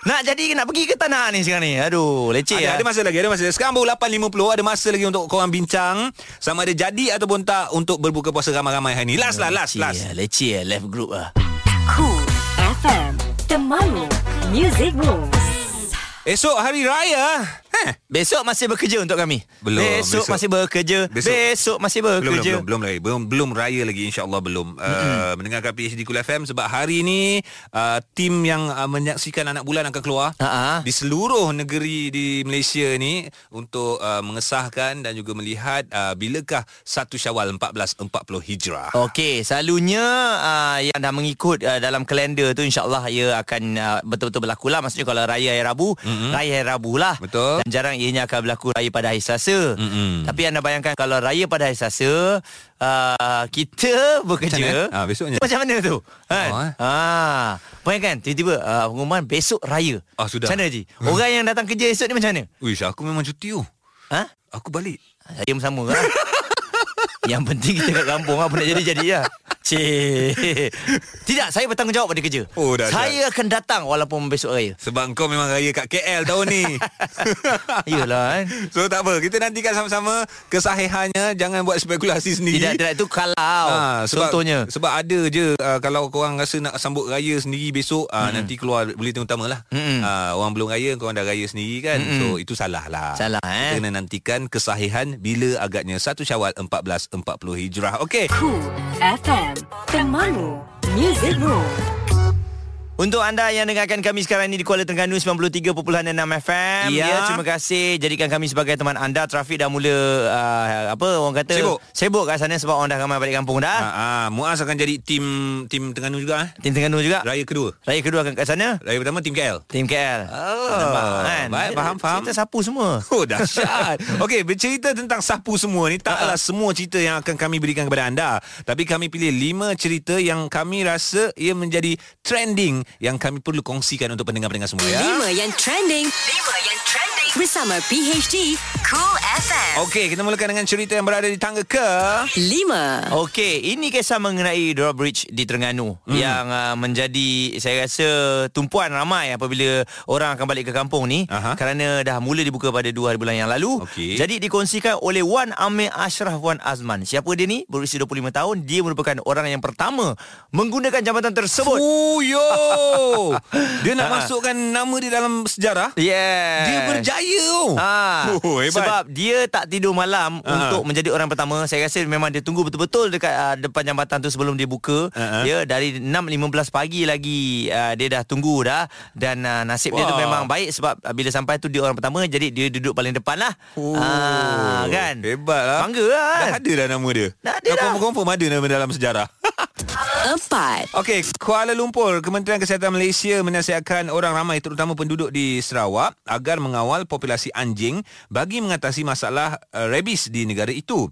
Speaker 2: nak jadi ke nak pergi ke tanah ni sekarang ni. Aduh, leceh
Speaker 3: ada,
Speaker 2: lah.
Speaker 3: ada masa lagi Ada masa lagi. Sekarang baru 8.50 Ada masa lagi untuk korang bincang Sama ada jadi ataupun tak Untuk berbuka puasa ramai-ramai hari ni Last lah last
Speaker 2: Leceh
Speaker 3: last
Speaker 2: lah, Leceh lah, live group lah.
Speaker 1: Cool FM. Temanmu. Music Moves.
Speaker 3: Esok hari raya Heh.
Speaker 2: Besok masih bekerja untuk kami.
Speaker 3: Belum,
Speaker 2: Besok,
Speaker 3: besok.
Speaker 2: masih bekerja.
Speaker 3: Besok.
Speaker 2: Besok, besok masih bekerja.
Speaker 3: Belum, belum, belum, belum lagi. Belum belum raya lagi insya-Allah belum. Uh, mendengarkan PHD Kul FM sebab hari ni uh, tim yang uh, menyaksikan anak bulan akan keluar
Speaker 2: Ha-ha.
Speaker 3: di seluruh negeri di Malaysia ni untuk uh, mengesahkan dan juga melihat uh, bilakah 1 Syawal 1440 Hijrah.
Speaker 2: Okey, selalunya uh, yang dah mengikut uh, dalam kalender tu insyaallah ia akan uh, betul-betul berlaku lah. Maksudnya kalau raya hari Rabu, mm-hmm. raya hari Rabu lah.
Speaker 3: Betul. Mm-hmm.
Speaker 2: Dan jarang ianya akan berlaku raya pada hari Selasa.
Speaker 3: Mm-mm.
Speaker 2: Tapi anda bayangkan kalau raya pada hari Selasa, uh, kita (laughs) bekerja.
Speaker 3: Macam mana? Ah, besoknya.
Speaker 2: Macam mana tu? Kan?
Speaker 3: Oh,
Speaker 2: Oh,
Speaker 3: eh.
Speaker 2: ah. Bayangkan tiba-tiba uh, pengumuman besok raya.
Speaker 3: Ah, sudah.
Speaker 2: Macam mana Haji?
Speaker 3: (laughs)
Speaker 2: Orang yang datang kerja esok ni macam mana?
Speaker 3: Uish, aku memang cuti tu.
Speaker 2: Ha?
Speaker 3: Aku balik. (laughs)
Speaker 2: Saya sama lah. yang penting kita kat kampung apa nak jadi jadi lah. Cik. Tidak, saya bertanggungjawab pada kerja.
Speaker 3: Oh, dah,
Speaker 2: saya akan datang walaupun besok raya.
Speaker 3: Sebab kau memang raya kat KL tahun
Speaker 2: (laughs)
Speaker 3: ni
Speaker 2: Iyalah kan.
Speaker 3: So tak apa Kita nantikan sama-sama Kesahihannya Jangan buat spekulasi sendiri
Speaker 2: Tidak, tidak itu kalau. Ha,
Speaker 3: Ah, sebab,
Speaker 2: contohnya.
Speaker 3: Sebab ada je uh, Kalau korang rasa nak sambut raya sendiri besok uh, Nanti keluar bulletin utama lah
Speaker 2: Mm-mm.
Speaker 3: uh, Orang belum raya Korang dah raya sendiri kan mm So itu salah lah
Speaker 2: Salah, eh?
Speaker 3: Kita kena nantikan kesahihan Bila agaknya 1 syawal 1440 Hijrah Okey
Speaker 1: Cool FM Temanmu Music Room
Speaker 2: Untuk anda yang dengarkan kami sekarang ini di Kuala Terengganu 93.6 FM.
Speaker 3: Ya.
Speaker 2: terima kasih jadikan kami sebagai teman anda. Trafik dah mula uh, apa orang kata
Speaker 3: Sibuk.
Speaker 2: Sibuk kat sana sebab orang dah ramai balik kampung
Speaker 3: ha,
Speaker 2: dah.
Speaker 3: ha, Muaz akan jadi tim Tim Terengganu juga eh?
Speaker 2: Ah. Tim Terengganu juga.
Speaker 3: Raya kedua
Speaker 2: Raya kedua akan kat sana.
Speaker 3: Raya pertama tim KL
Speaker 2: Tim KL.
Speaker 3: Oh,
Speaker 2: Nampak, kan?
Speaker 3: baik, faham, faham.
Speaker 2: Kita sapu semua.
Speaker 3: Oh
Speaker 2: (laughs)
Speaker 3: dahsyat Okey bercerita tentang sapu semua ni
Speaker 2: Ah,
Speaker 3: Taklah semua cerita yang akan kami berikan kepada anda Tapi kami pilih 5 cerita yang kami rasa Ia menjadi trending Yang kami perlu kongsikan untuk pendengar-pendengar semua ya
Speaker 1: Lima yang trending Lima yang trending Bersama PHD Cool FM
Speaker 3: Okey kita mulakan dengan cerita yang berada di tangga ke
Speaker 1: Lima
Speaker 3: Ah.
Speaker 2: Okey, ini kisah mengenai drawbridge di Terengganu hmm. yang uh, menjadi saya rasa tumpuan ramai apabila orang akan balik ke kampung ni
Speaker 3: Aha.
Speaker 2: kerana dah mula dibuka pada 2 hari bulan yang lalu.
Speaker 3: Okey.
Speaker 2: Jadi dikongsikan oleh Wan Amir Ashraf Wan Azman. Siapa dia ni? Berusia 25 tahun, dia merupakan orang yang pertama menggunakan jambatan tersebut.
Speaker 3: Fuyo Oh, Dia nak
Speaker 2: Ha.
Speaker 3: masukkan nama dia dalam sejarah
Speaker 2: Yeah.
Speaker 3: Dia berjaya oh.
Speaker 2: Ah,
Speaker 3: Oh, hebat. Ah.
Speaker 2: sebab dia tak tidur malam uh untuk menjadi orang pertama. Saya rasa memang dia tunggu betul-betul dekat uh, depan jambatan tu sebelum dia buka.
Speaker 3: Ha-ha.
Speaker 2: Ya, dari 6.15 pagi lagi uh, dia dah tunggu dah dan uh, nasib dia tu
Speaker 3: Wah.
Speaker 2: memang baik sebab uh, bila sampai tu dia orang pertama jadi dia duduk paling depan lah.
Speaker 3: Oh,
Speaker 2: Ah, kan?
Speaker 3: Hebat lah
Speaker 2: Bangga kan?
Speaker 3: Dah ada dah nama dia
Speaker 2: Dah ada dah.
Speaker 3: Confirm-confirm ada nama dalam (laughs) sejarah
Speaker 1: Empat
Speaker 3: Okey, Kuala Lumpur, Kementerian Kesihatan Malaysia menasihatkan orang ramai terutama penduduk di Sarawak agar mengawal populasi anjing bagi mengatasi masalah uh, rabies di negara itu.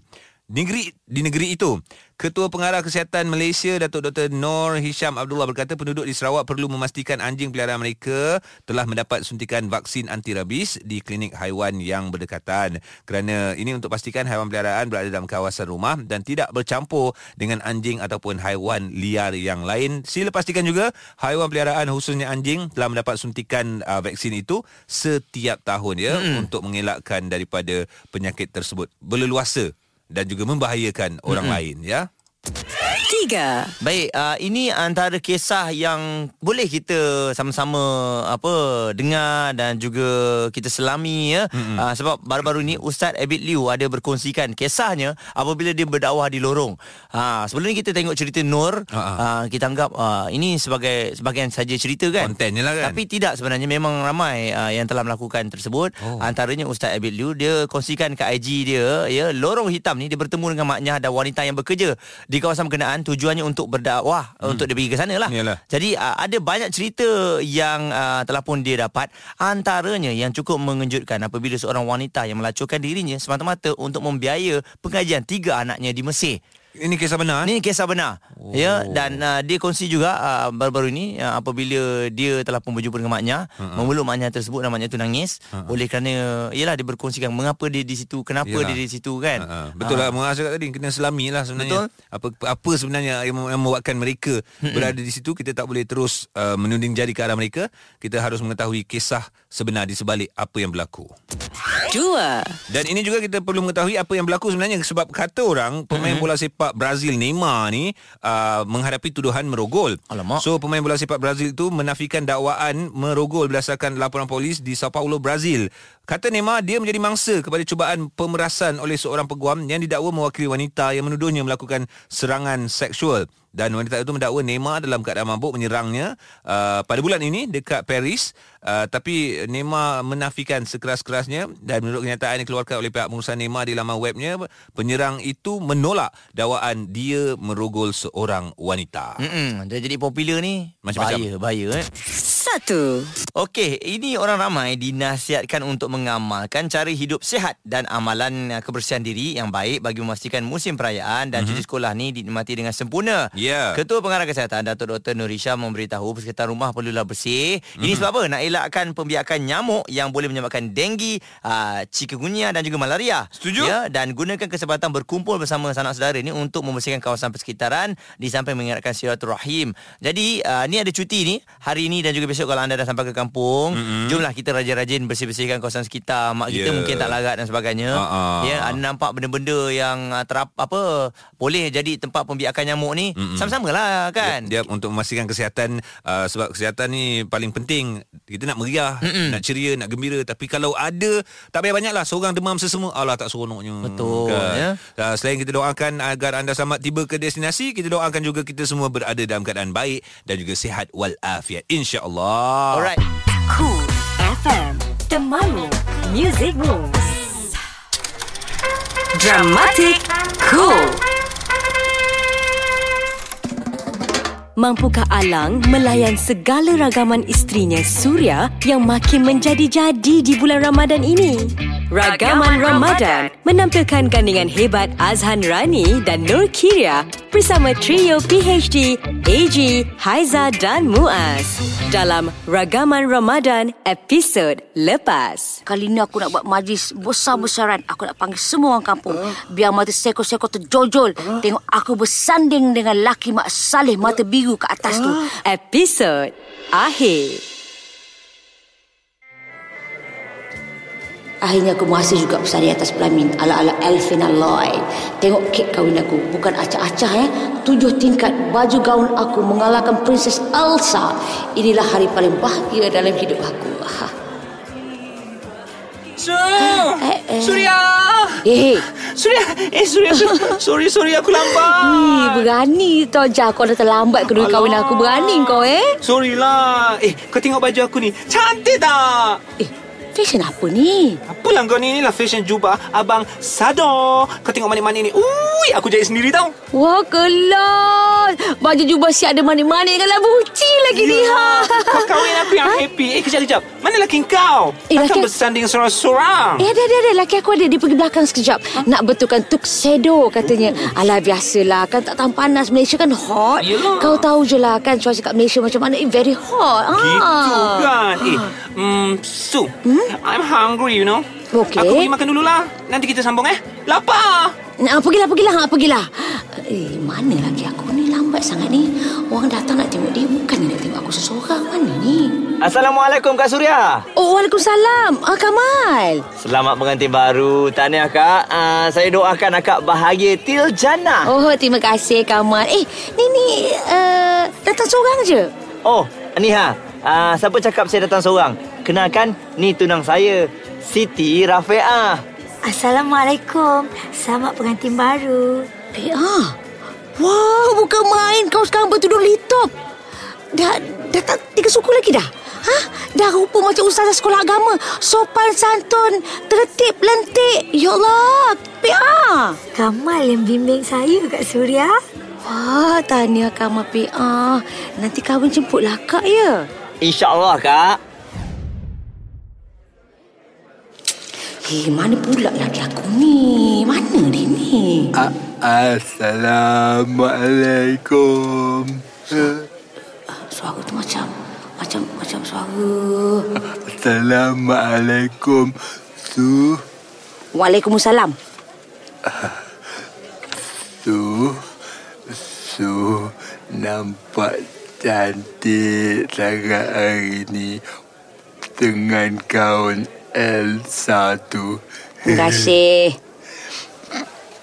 Speaker 3: Negeri di negeri itu. Ketua Pengarah Kesihatan Malaysia Datuk Dr Nor Hisham Abdullah berkata penduduk di Sarawak perlu memastikan anjing peliharaan mereka telah mendapat suntikan vaksin anti rabies di klinik haiwan yang berdekatan kerana ini untuk pastikan haiwan peliharaan berada dalam kawasan rumah dan tidak bercampur dengan anjing ataupun haiwan liar yang lain. Sila pastikan juga haiwan peliharaan khususnya anjing telah mendapat suntikan uh, vaksin itu setiap tahun ya hmm. untuk mengelakkan daripada penyakit tersebut berleluasa dan juga membahayakan orang lain ya.
Speaker 1: Tiga
Speaker 2: Baik, uh, ini antara kisah yang boleh kita sama-sama apa dengar dan juga kita selami ya. Mm-hmm. Uh, sebab baru-baru ni Ustaz Abid Liu ada berkongsikan kisahnya apabila dia berdakwah di lorong. Ha, sebelum ni kita tengok cerita Nur,
Speaker 3: Ha, ha.
Speaker 2: uh, kita anggap uh, ini sebagai sebagian saja cerita kan.
Speaker 3: Konten je lah kan.
Speaker 2: Tapi tidak sebenarnya memang ramai uh, yang telah melakukan tersebut.
Speaker 3: Oh.
Speaker 2: Oh. Antaranya Ustaz Abid Liu dia kongsikan ke IG dia ya lorong hitam ni dia bertemu dengan maknya dan wanita yang bekerja di kawasan berkenaan tujuannya untuk berdakwah hmm. untuk dia pergi ke sana lah.
Speaker 3: Yalah.
Speaker 2: Jadi uh, ada banyak cerita yang uh, telah pun dia dapat antaranya yang cukup mengejutkan apabila seorang wanita yang melacurkan dirinya semata-mata untuk membiaya pengajian tiga anaknya di Mesir.
Speaker 3: Ini kisah benar.
Speaker 2: Ini kisah benar. Oh. Ya dan uh, dia kongsi juga uh, baru-baru ini uh, apabila dia telah pun berjumpa dengan maknya, uh-huh. memeluk maknya tersebut dan maknya tu nangis uh-huh. oleh kerana yalah dia berkongsikan mengapa dia di situ, kenapa
Speaker 3: Yalah.
Speaker 2: yalah. dia di situ kan.
Speaker 3: Ha, ha. Betul lah Muaz cakap tadi Kena selami lah sebenarnya
Speaker 2: Betul.
Speaker 3: apa, apa sebenarnya yang, mem- yang membuatkan mereka hmm Berada di situ Kita tak boleh terus uh, Menuding jari ke arah mereka Kita harus mengetahui Kisah sebenar di sebalik Apa yang berlaku
Speaker 1: Dua
Speaker 3: Dan ini juga kita perlu mengetahui Apa yang berlaku sebenarnya Sebab kata orang Pemain bola sepak Brazil Neymar ni uh, Menghadapi tuduhan merogol
Speaker 2: Alamak.
Speaker 3: So pemain bola sepak Brazil itu Menafikan dakwaan Merogol berdasarkan laporan polis Di Sao Paulo, Brazil Kata Neymar Dia menjadi mangsa kepada cubaan pemerasan Oleh seorang peguam Yang didakwa mewakili wanita Yang menuduhnya melakukan serangan seksual dan wanita itu mendakwa Neymar dalam keadaan mabuk menyerangnya uh, pada bulan ini dekat Paris uh, tapi Neymar menafikan sekeras-kerasnya dan menurut kenyataan yang dikeluarkan oleh pihak pengurusan Neymar di laman webnya penyerang itu menolak dakwaan dia merogol seorang wanita.
Speaker 2: Mm-mm. Dia jadi popular ni
Speaker 3: Macam-macam.
Speaker 2: bahaya, bahaya eh.
Speaker 1: Satu satu.
Speaker 2: Okey, ini orang ramai dinasihatkan untuk mengamalkan cara hidup sihat dan amalan uh, kebersihan diri yang baik bagi memastikan musim perayaan dan cuti sekolah ni dinikmati dengan sempurna.
Speaker 3: Mhm. Ya.
Speaker 2: Ketua Pengarah Kesihatan Datuk Dr. Nurisha memberitahu sekitar rumah perlulah bersih.
Speaker 3: Mhm.
Speaker 2: Ini sebab apa? Nak elakkan pembiakan nyamuk yang boleh menyebabkan denggi, uh, chikungunya dan juga malaria.
Speaker 3: Setuju.
Speaker 2: Ya, dan gunakan kesempatan berkumpul bersama sanak saudara ni untuk membersihkan kawasan persekitaran di samping mengingatkan silaturahim. Jadi uh, ni ada cuti ni hari ini dan juga besok kalau anda dah sampai ke kampung, mm-hmm. jomlah kita rajin-rajin bersih-bersihkan kawasan sekitar. Mak yeah. kita
Speaker 3: Mhm. Ya. Ha,
Speaker 2: mungkin tak larat dan sebagainya.
Speaker 3: Ha-ha.
Speaker 2: Ya, anda nampak benda-benda yang uh, terap apa boleh jadi tempat pembiakan nyamuk ni mm-hmm. sama-samalah kan.
Speaker 3: Dia, dia untuk memastikan kesihatan uh, sebab kesihatan ni paling penting. Kita nak meriah, Mm-mm. nak ceria, nak gembira tapi kalau ada tak payah banyaklah seorang demam sesama alah tak seronoknya.
Speaker 2: Betul, ya.
Speaker 3: Uh, selain kita doakan agar anda selamat tiba ke destinasi, kita doakan juga kita semua berada dalam keadaan baik dan juga sihat wal afiat insya-Allah.
Speaker 2: Alright.
Speaker 1: Cool FM. Temanmu. Music Moves. Dramatic Cool. Mampukah Alang melayan segala ragaman isterinya Surya yang makin menjadi-jadi di bulan Ramadan ini? Ragaman Ramadan menampilkan gandingan hebat Azhan Rani dan Nur Kiria bersama trio PHD, AG, Haiza dan Muaz dalam Ragaman Ramadan episod lepas.
Speaker 6: Kali ni aku nak buat majlis besar-besaran. Aku nak panggil semua orang kampung. Biar mata seko-seko terjojol. Tengok aku bersanding dengan laki Mak Saleh mata biru ke atas tu.
Speaker 1: Episod akhir.
Speaker 6: Akhirnya aku masih juga bersanding atas pelamin. Ala-ala Elfin Alloy. Tengok kek kahwin aku. Bukan acah-acah ya. Tujuh tingkat baju gaun aku mengalahkan Princess Elsa. Inilah hari paling bahagia dalam hidup aku. (laughs) Ha. Eh, eh.
Speaker 2: Surya.
Speaker 6: Eh,
Speaker 2: Surya. Eh Surya. (laughs) sorry sorry aku lambat.
Speaker 6: Ih, berani tau Jah Kau dah terlambat kedua kahwin aku Berani kau eh
Speaker 2: Sorry lah. Eh kau tengok baju aku ni. Cantik tak?
Speaker 6: Eh, fashion apa ni?
Speaker 2: Apalah kau ni Inilah fashion jubah Abang Sado Kau tengok manik-manik ni Ui Aku jahit sendiri tau
Speaker 6: Wah, kelas. Baju jubah siap ada manik-manik dengan labu uci lagi ni. Ha.
Speaker 2: Kau kahwin aku
Speaker 6: (laughs)
Speaker 2: yang happy Eh kejap-kejap Mana laki kau
Speaker 6: Eh,
Speaker 2: Takkan
Speaker 6: laki-
Speaker 2: bersanding seorang-seorang
Speaker 6: Eh, ada, ada, ada. Laki aku ada. Dia pergi belakang sekejap. Nak betulkan tuxedo katanya. Alah, biasalah. Kan tak tahan panas. Malaysia kan hot.
Speaker 2: Yelah.
Speaker 6: Kau tahu je lah kan cuaca kat Malaysia macam mana. Eh, very hot. Ha.
Speaker 2: Gitu kan Eh
Speaker 6: Ah.
Speaker 2: mm, Su
Speaker 6: Hmm?
Speaker 2: I'm hungry you know
Speaker 6: Okey.
Speaker 2: Aku pergi makan dululah Nanti kita sambung eh Lapar
Speaker 6: Nah, pergilah, pergilah. Ha, pergilah. Eh, mana laki aku ni lambat sangat ni? Orang datang nak tengok dia. Bukan nak tengok aku seseorang. Mana ni?
Speaker 7: Assalamualaikum Kak Surya.
Speaker 6: Oh, Waalaikumsalam. Ah, Kamal.
Speaker 7: Selamat pengantin baru. Tahniah Kak. Uh, saya doakan akak bahagia til jannah.
Speaker 6: Oh, terima kasih Kamal. Eh, ni ni uh, datang seorang je.
Speaker 7: Oh, ni ha. Uh, siapa cakap saya datang seorang? Kenalkan, ni tunang saya. Siti Rafiah.
Speaker 8: Assalamualaikum. Selamat pengantin baru.
Speaker 6: PA. Wah, Eh, ah. bukan main kau sekarang bertudung litop. Dah dah tak tiga suku lagi dah. Ha? Dah rupa macam ustazah sekolah agama. Sopan santun, tertib lentik. Ya Allah, Eh, ah. PA.
Speaker 8: Kamal yang bimbing saya kat Suria.
Speaker 6: Wah, tahniah Kamal PA. Nanti kahwin jemputlah Kak ya.
Speaker 7: InsyaAllah Kak.
Speaker 6: Hei, Eh, mana pula lagi aku ni? Mana dia ni?
Speaker 9: Assalamualaikum.
Speaker 6: Suara tu macam macam macam suara.
Speaker 9: Assalamualaikum. Tu,
Speaker 6: Waalaikumsalam.
Speaker 9: tu, tu. Nampak cantik sangat hari ni dengan kaun Elsa tu.
Speaker 6: Terima kasih.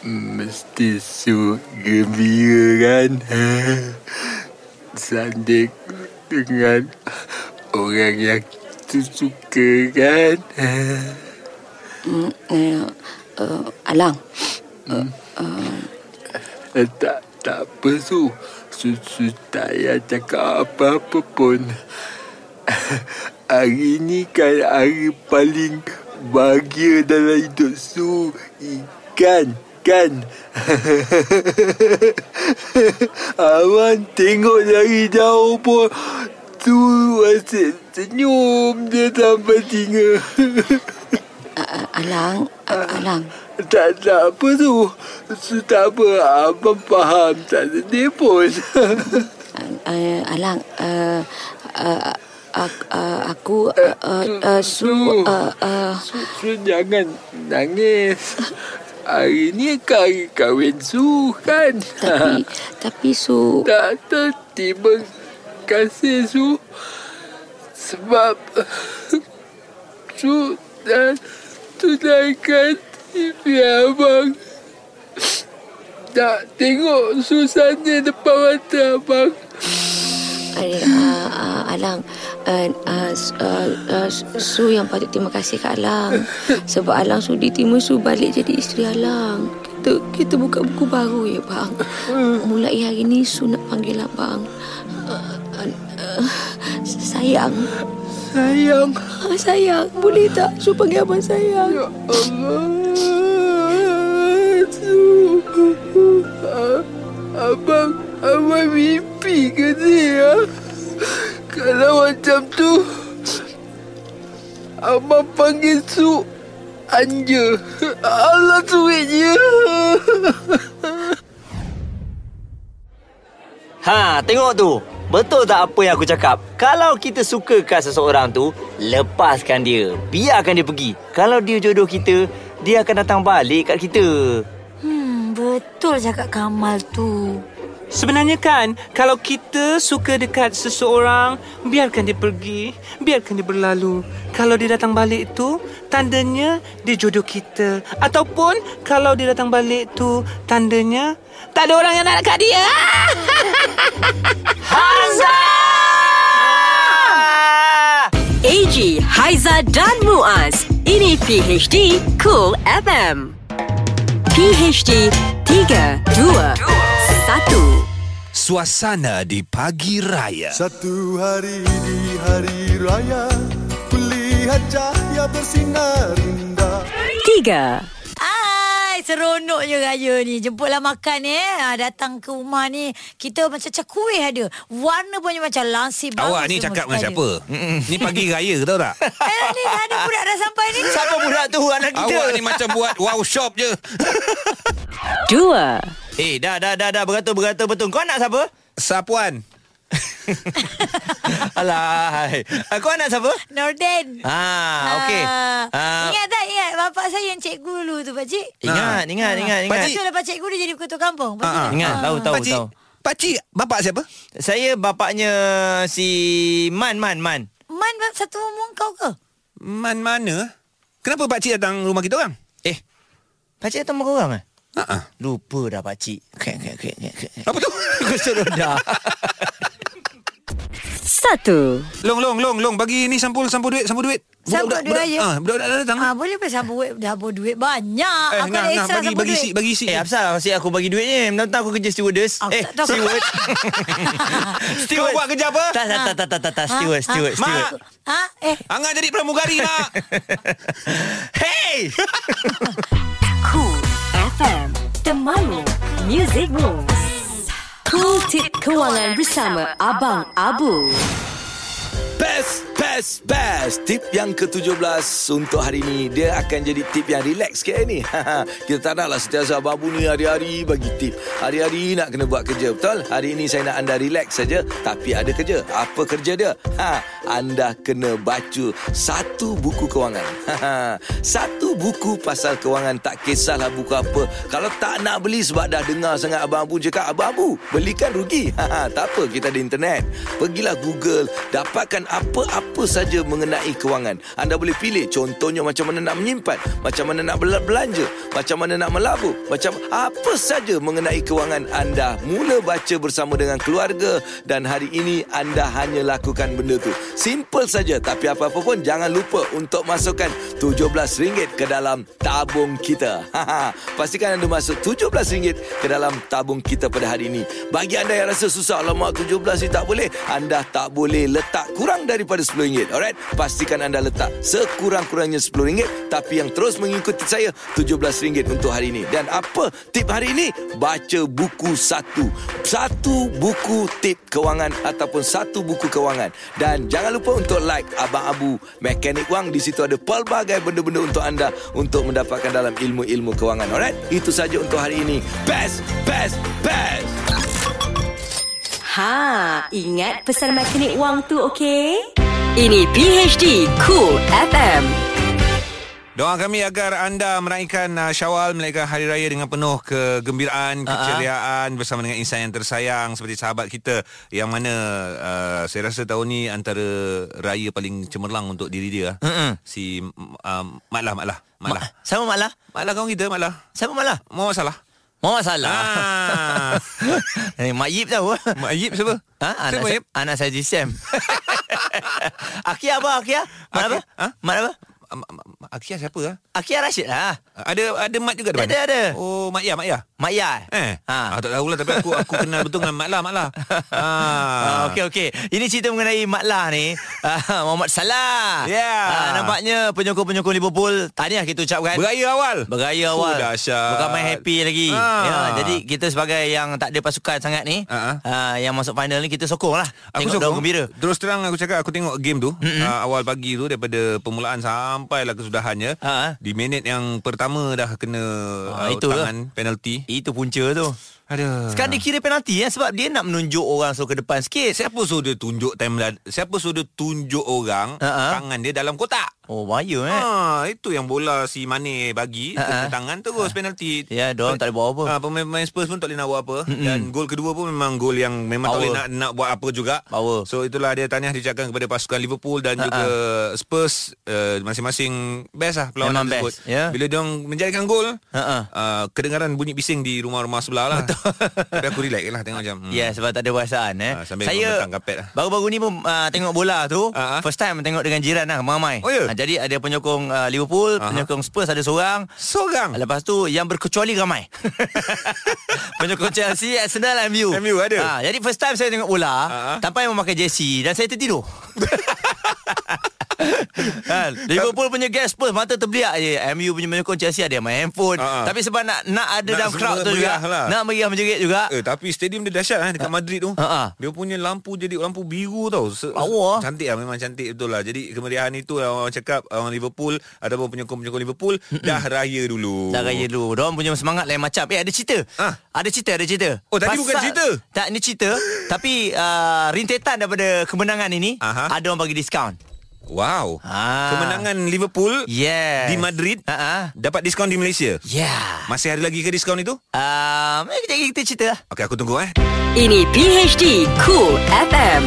Speaker 9: Mesti su gembira kan? (laughs) Sanding dengan orang yang tu suka kan? (laughs)
Speaker 6: Uh, uh, Alang.
Speaker 9: Eh, Tak, tak apa Su. Su, su tak payah cakap apa-apa pun. (laughs) Hari ni kan hari paling bahagia dalam hidup Su. Kan, kan. (laughs) Awan tengok dari jauh pun tu asyik senyum dia sampai tinga. (laughs)
Speaker 6: Ah, Alang, ah, Alang.
Speaker 9: tak, tak apa tu. Su tak apa. Abang faham. Tak sedih pun. (laughs)
Speaker 6: Uh, Alang, uh, uh, ak- uh, aku uh, uh, uh, su... Uh, uh,
Speaker 9: Su, Su jangan nangis. Hari ni kau hari kahwin Su kan?
Speaker 6: tapi, tapi su... eh,
Speaker 9: Tak tertiba kasih Su sebab (laughs) Su dan tunaikan TV abang. Tak tengok susahnya depan mata abang.
Speaker 6: Ay, uh, uh, Alang uh, uh, Su- uh, uh, Su yang patut terima kasih kat Alang Sebab Alang sudi terima Su balik jadi isteri Alang Kita kita buka buku baru ya bang Mulai hari ni Su nak panggil abang uh, uh, uh, Sayang
Speaker 9: Sayang.
Speaker 6: Ah, Sayang boleh tak Su panggil abang sayang
Speaker 9: Ya Allah. Su. A- Abang, abang mimpi ke dia? Kalau macam tu, abang panggil Su Anja. Allah suiknya.
Speaker 7: Ha, tengok tu. Betul tak apa yang aku cakap? Kalau kita suka kat seseorang tu, lepaskan dia. Biarkan dia pergi. Kalau dia jodoh kita, dia akan datang balik kat kita.
Speaker 8: Hmm, betul cakap Kamal tu.
Speaker 10: Sebenarnya kan, kalau kita suka dekat seseorang, biarkan dia pergi, biarkan dia berlalu. Kalau dia datang balik tu, tandanya dia jodoh kita. Ataupun kalau dia datang balik tu, tandanya tak ada orang yang nak dekat dia.
Speaker 1: AG, Haiza dan Muaz. Ini PHD Cool FM. PHD 3, 2, 1.
Speaker 3: Suasana di pagi raya.
Speaker 11: Satu hari di hari raya Kulihat cahaya bersinar indah
Speaker 1: 3.
Speaker 12: Hai, seronoknya raya ni. Jemputlah makan eh. Ha, datang ke rumah ni, kita macam macam kuih ada. Warna punya macam langsir bagus
Speaker 3: Awak ni
Speaker 12: semua
Speaker 3: cakap
Speaker 12: kita
Speaker 3: dengan
Speaker 12: ada.
Speaker 3: siapa? Ni pagi raya tahu
Speaker 2: (laughs)
Speaker 3: tak?
Speaker 12: Eh, ni dah ada budak dah sampai ni.
Speaker 2: Siapa budak tu anak kita?
Speaker 3: Awak ni macam
Speaker 2: (laughs)
Speaker 3: buat wow shop je.
Speaker 1: Dua.
Speaker 2: Eh, dah, dah, dah, dah. Beratur-beratur betul. Kau anak (laughs) siapa?
Speaker 3: Sapuan.
Speaker 2: Alahai. Ah, Kau anak siapa?
Speaker 12: Norden.
Speaker 2: Ah, okey.
Speaker 12: Ah,
Speaker 2: Ah,
Speaker 12: Ingat tak ingat bapak saya yang cikgu dulu tu, Pakcik?
Speaker 2: ingat, ingat, ingat, ingat.
Speaker 12: Lepas tu lepas cikgu dia jadi ketua kampung. Lepas tu
Speaker 3: Ah, ah.
Speaker 2: Ingat, tahu, tahu,
Speaker 3: Pakcik,
Speaker 2: tahu.
Speaker 3: pakcik, bapak siapa?
Speaker 2: Saya bapaknya si Man, Man, Man.
Speaker 12: Man bab satu umur kau ke?
Speaker 3: Man mana? Kenapa pakcik datang rumah kita orang?
Speaker 2: Eh, pakcik datang rumah korang eh?
Speaker 3: Ha-ha.
Speaker 2: Lupa dah pakcik. Kek, kek, kek, kek, kek.
Speaker 3: Apa
Speaker 11: (laughs)
Speaker 3: tu?
Speaker 2: Aku suruh dah.
Speaker 1: Satu.
Speaker 3: Long, long, long, long. Bagi ni sampul, sampul duit, sampul duit.
Speaker 12: Sampul duit
Speaker 3: budak,
Speaker 12: raya.
Speaker 3: Ah, budak-budak dah datang.
Speaker 12: Ah, boleh boleh sambung duit, dah bawa duit banyak.
Speaker 3: Eh,
Speaker 12: aku
Speaker 3: nah,
Speaker 12: ada
Speaker 3: nah,
Speaker 12: extra
Speaker 3: bagi,
Speaker 12: sambung
Speaker 3: bagi
Speaker 12: duit.
Speaker 3: isi, bagi isi.
Speaker 2: eh, Hafsah, asyik aku bagi duit ni. Mentang-mentang aku kerja stewardess.
Speaker 12: Aku
Speaker 2: eh,
Speaker 12: Oh, tak tahu. (laughs)
Speaker 2: steward.
Speaker 3: Steward buat kerja apa?
Speaker 2: Tak, tak, tak, tak, tak, tak,
Speaker 12: Ha,
Speaker 2: tak. Steward, steward, steward.
Speaker 12: Mak. Ha? Eh,
Speaker 3: Angah jadi pramugari
Speaker 12: (laughs)
Speaker 3: nak.
Speaker 2: Hey!
Speaker 1: Cool FM. Temanmu. Music Moves. Cool Tip Kewangan bersama Abang Abu.
Speaker 11: Best, best, best Tip yang ke-17 untuk hari ni Dia akan jadi tip yang relax sikit ni (laughs) Kita tak naklah setiasa babu ni hari-hari bagi tip Hari-hari nak kena buat kerja, betul? Hari ni saya nak anda relax saja Tapi ada kerja Apa kerja dia? Ha, anda kena baca satu buku kewangan (laughs) Ha, Satu buku pasal kewangan Tak kisahlah buku apa Kalau tak nak beli sebab dah dengar sangat Abang Abu cakap Abang Abu, belikan rugi (laughs) Ha, Tak apa, kita di internet Pergilah Google Dapatkan apa-apa saja mengenai kewangan Anda boleh pilih Contohnya macam mana nak menyimpan Macam mana nak bela- belanja Macam mana nak melabur Macam apa saja mengenai kewangan anda Mula baca bersama dengan keluarga Dan hari ini anda hanya lakukan benda tu Simple saja Tapi apa-apa pun jangan lupa untuk masukkan RM17 ke dalam tabung kita Pastikan anda masuk RM17 ke dalam tabung kita pada hari ini bagi anda yang rasa susah Alamak 17 ni tak boleh Anda tak boleh letak kurang daripada RM10 RM10. Alright, pastikan anda letak sekurang-kurangnya RM10 tapi yang terus mengikuti saya RM17 untuk hari ini. Dan apa tip hari ini? Baca buku satu. Satu buku tip kewangan ataupun satu buku kewangan. Dan jangan lupa untuk like Abang Abu Mekanik Wang. Di situ ada pelbagai benda-benda untuk anda untuk mendapatkan dalam ilmu-ilmu kewangan. Alright, itu saja untuk hari ini. Best, best, best.
Speaker 1: Ha, ingat pesan mekanik wang tu okey? Ini PHD Cool FM.
Speaker 3: Doa kami agar anda meraihkan uh, Syawal melainkan hari raya dengan penuh kegembiraan,
Speaker 2: Ah,
Speaker 3: keceriaan bersama dengan insan yang tersayang seperti sahabat kita yang mana uh, saya rasa tahun ni antara raya paling cemerlang untuk diri dia. ah.
Speaker 2: Mm-mm.
Speaker 3: Si um, Mat lah, Mat lah, Mat lah.
Speaker 2: Siapa Mak Lah?
Speaker 3: Mak Lah kawan kita, Mak Lah.
Speaker 2: Siapa Mak Lah?
Speaker 3: Muhammad Salah.
Speaker 2: Muhammad Salah.
Speaker 3: Ah.
Speaker 2: (laughs) eh, Mak Yip tahu. (laughs)
Speaker 3: Mak Yip siapa?
Speaker 2: Ha? Anak,
Speaker 3: Siapa
Speaker 2: saya,
Speaker 3: Yip?
Speaker 2: anak saya (laughs) Jisem. Akia apa? Akia? Mat apa?
Speaker 3: Ha?
Speaker 2: Mat apa?
Speaker 3: Um, um, um, Akia siapa ah?
Speaker 2: Akia Rashid lah.
Speaker 3: Ada ada mat juga depan.
Speaker 2: Ada, ada.
Speaker 3: Oh, mak ya, mak ya.
Speaker 2: Mak Yai.
Speaker 3: Eh.
Speaker 2: Ha.
Speaker 3: Ah, tak tahulah tapi aku aku kenal betul dengan mak lah, mak lah.
Speaker 2: (laughs) Ah,
Speaker 3: Ah.
Speaker 2: okey okey. Ini cerita mengenai Mat Lah ni. Ah, (laughs) Muhammad Salah.
Speaker 3: Yeah.
Speaker 2: Ah, nampaknya penyokong-penyokong Liverpool tahniah kita ucapkan.
Speaker 3: Beraya awal.
Speaker 2: Beraya
Speaker 3: Oh,
Speaker 2: awal.
Speaker 3: dahsyat.
Speaker 2: Bukan main happy lagi.
Speaker 3: Ah.
Speaker 2: Ya, jadi kita sebagai yang tak ada pasukan sangat ni,
Speaker 3: Ah, ah.
Speaker 2: ah, yang masuk final ni kita sokong lah.
Speaker 3: Aku
Speaker 2: Tengok
Speaker 3: sokong.
Speaker 2: dorang gembira.
Speaker 3: Terus terang aku cakap aku tengok game tu mm-hmm. uh, awal pagi tu daripada permulaan sampailah kesudahannya.
Speaker 2: Ha.
Speaker 3: Di minit yang pertama dah kena uh,
Speaker 2: Ah, itu lah.
Speaker 3: tangan penalti.
Speaker 2: Itu punca tu.
Speaker 3: Ada.
Speaker 2: Sekarang dia kira penalti ya sebab dia nak menunjuk orang suruh ke depan sikit.
Speaker 3: siapa suruh dia tunjuk time la- siapa suruh dia tunjuk orang
Speaker 2: Ha, ha.
Speaker 3: tangan dia dalam kotak?
Speaker 2: Oh, bahaya eh.
Speaker 3: Ha, itu yang bola si Mane bagi
Speaker 2: Ha, ha.
Speaker 3: uh-huh. tangan terus uh penalti.
Speaker 2: Ya, dorang tak boleh buat apa.
Speaker 3: Ha, pemain-pemain Spurs pun tak boleh nak buat apa mm dan gol kedua pun memang gol yang memang tak
Speaker 2: Power.
Speaker 3: boleh nak nak buat apa juga.
Speaker 2: Power.
Speaker 3: So itulah dia tahniah diucapkan kepada pasukan Liverpool dan uh juga Spurs uh, masing-masing best lah perlawanan
Speaker 2: Memang
Speaker 3: tersebut.
Speaker 2: best, ya.
Speaker 3: Bila dia menjadikan gol,
Speaker 2: Ha-ha.
Speaker 3: uh, kedengaran bunyi bising di rumah-rumah sebelah lah. (laughs) Tapi aku relax je lah tengok macam. hmm.
Speaker 2: Ya yeah, sebab tak ada perasaan eh.
Speaker 3: Ah, sambil
Speaker 2: saya
Speaker 3: membentang kapet lah.
Speaker 2: baru-baru ni pun uh, tengok bola
Speaker 3: Ah,
Speaker 2: tu
Speaker 3: ah.
Speaker 2: uh-huh. first time tengok dengan jiran lah ramai.
Speaker 3: Oh, ya?
Speaker 2: Ah, jadi ada penyokong uh, Liverpool,
Speaker 3: Ah, ah.
Speaker 2: uh-huh. penyokong Spurs ada seorang.
Speaker 3: Seorang.
Speaker 2: Hmm. Lepas tu yang berkecuali ramai. (laughs) penyokong Chelsea, Arsenal, MU.
Speaker 3: MU ada?
Speaker 2: Ah, jadi first time saya tengok bola
Speaker 3: ah.
Speaker 2: uh-huh. tanpa yang memakai jersey dan saya tertidur. (laughs) kan? Liverpool punya guest Spurs mata terbeliak je. MU punya penyokong Chelsea ada yang main handphone.
Speaker 3: Ah, ah.
Speaker 2: Uh-huh. Tapi sebab nak nak ada
Speaker 3: Nak
Speaker 2: dalam crowd
Speaker 3: semua
Speaker 2: tu juga.
Speaker 3: meriah lah.
Speaker 2: Nak meriah menjerit juga.
Speaker 3: Eh tapi stadium dia dahsyat eh dekat Madrid tu.
Speaker 2: Ha, ha.
Speaker 3: Dia punya lampu jadi lampu biru tau. Se-
Speaker 2: Power.
Speaker 3: se- Cantik lah memang cantik betul lah. Jadi kemeriahan itu yang orang cakap ah, orang Liverpool ataupun penyokong-penyokong Liverpool dah raya dulu.
Speaker 2: Dah raya dulu Diorang punya semangat lain macam Eh ada cerita
Speaker 3: Ah.
Speaker 2: Ada cerita ada cerita
Speaker 3: Oh, tadi bukan cerita?
Speaker 2: Tak ni cerita Tapi uh, Rintetan daripada Kemenangan ini
Speaker 3: Aha.
Speaker 2: Ada orang bagi diskaun
Speaker 3: Wow.
Speaker 2: Ah.
Speaker 3: Kemenangan Liverpool
Speaker 2: Yes Ha,
Speaker 3: di Madrid
Speaker 2: Ha-ha.
Speaker 3: dapat diskaun di Malaysia.
Speaker 2: Yeah
Speaker 3: Masih ada lagi ke diskaun itu?
Speaker 2: um, eh, Kejap lagi kita cerita lah
Speaker 3: Okey aku tunggu eh.
Speaker 1: Ini PHD Cool FM.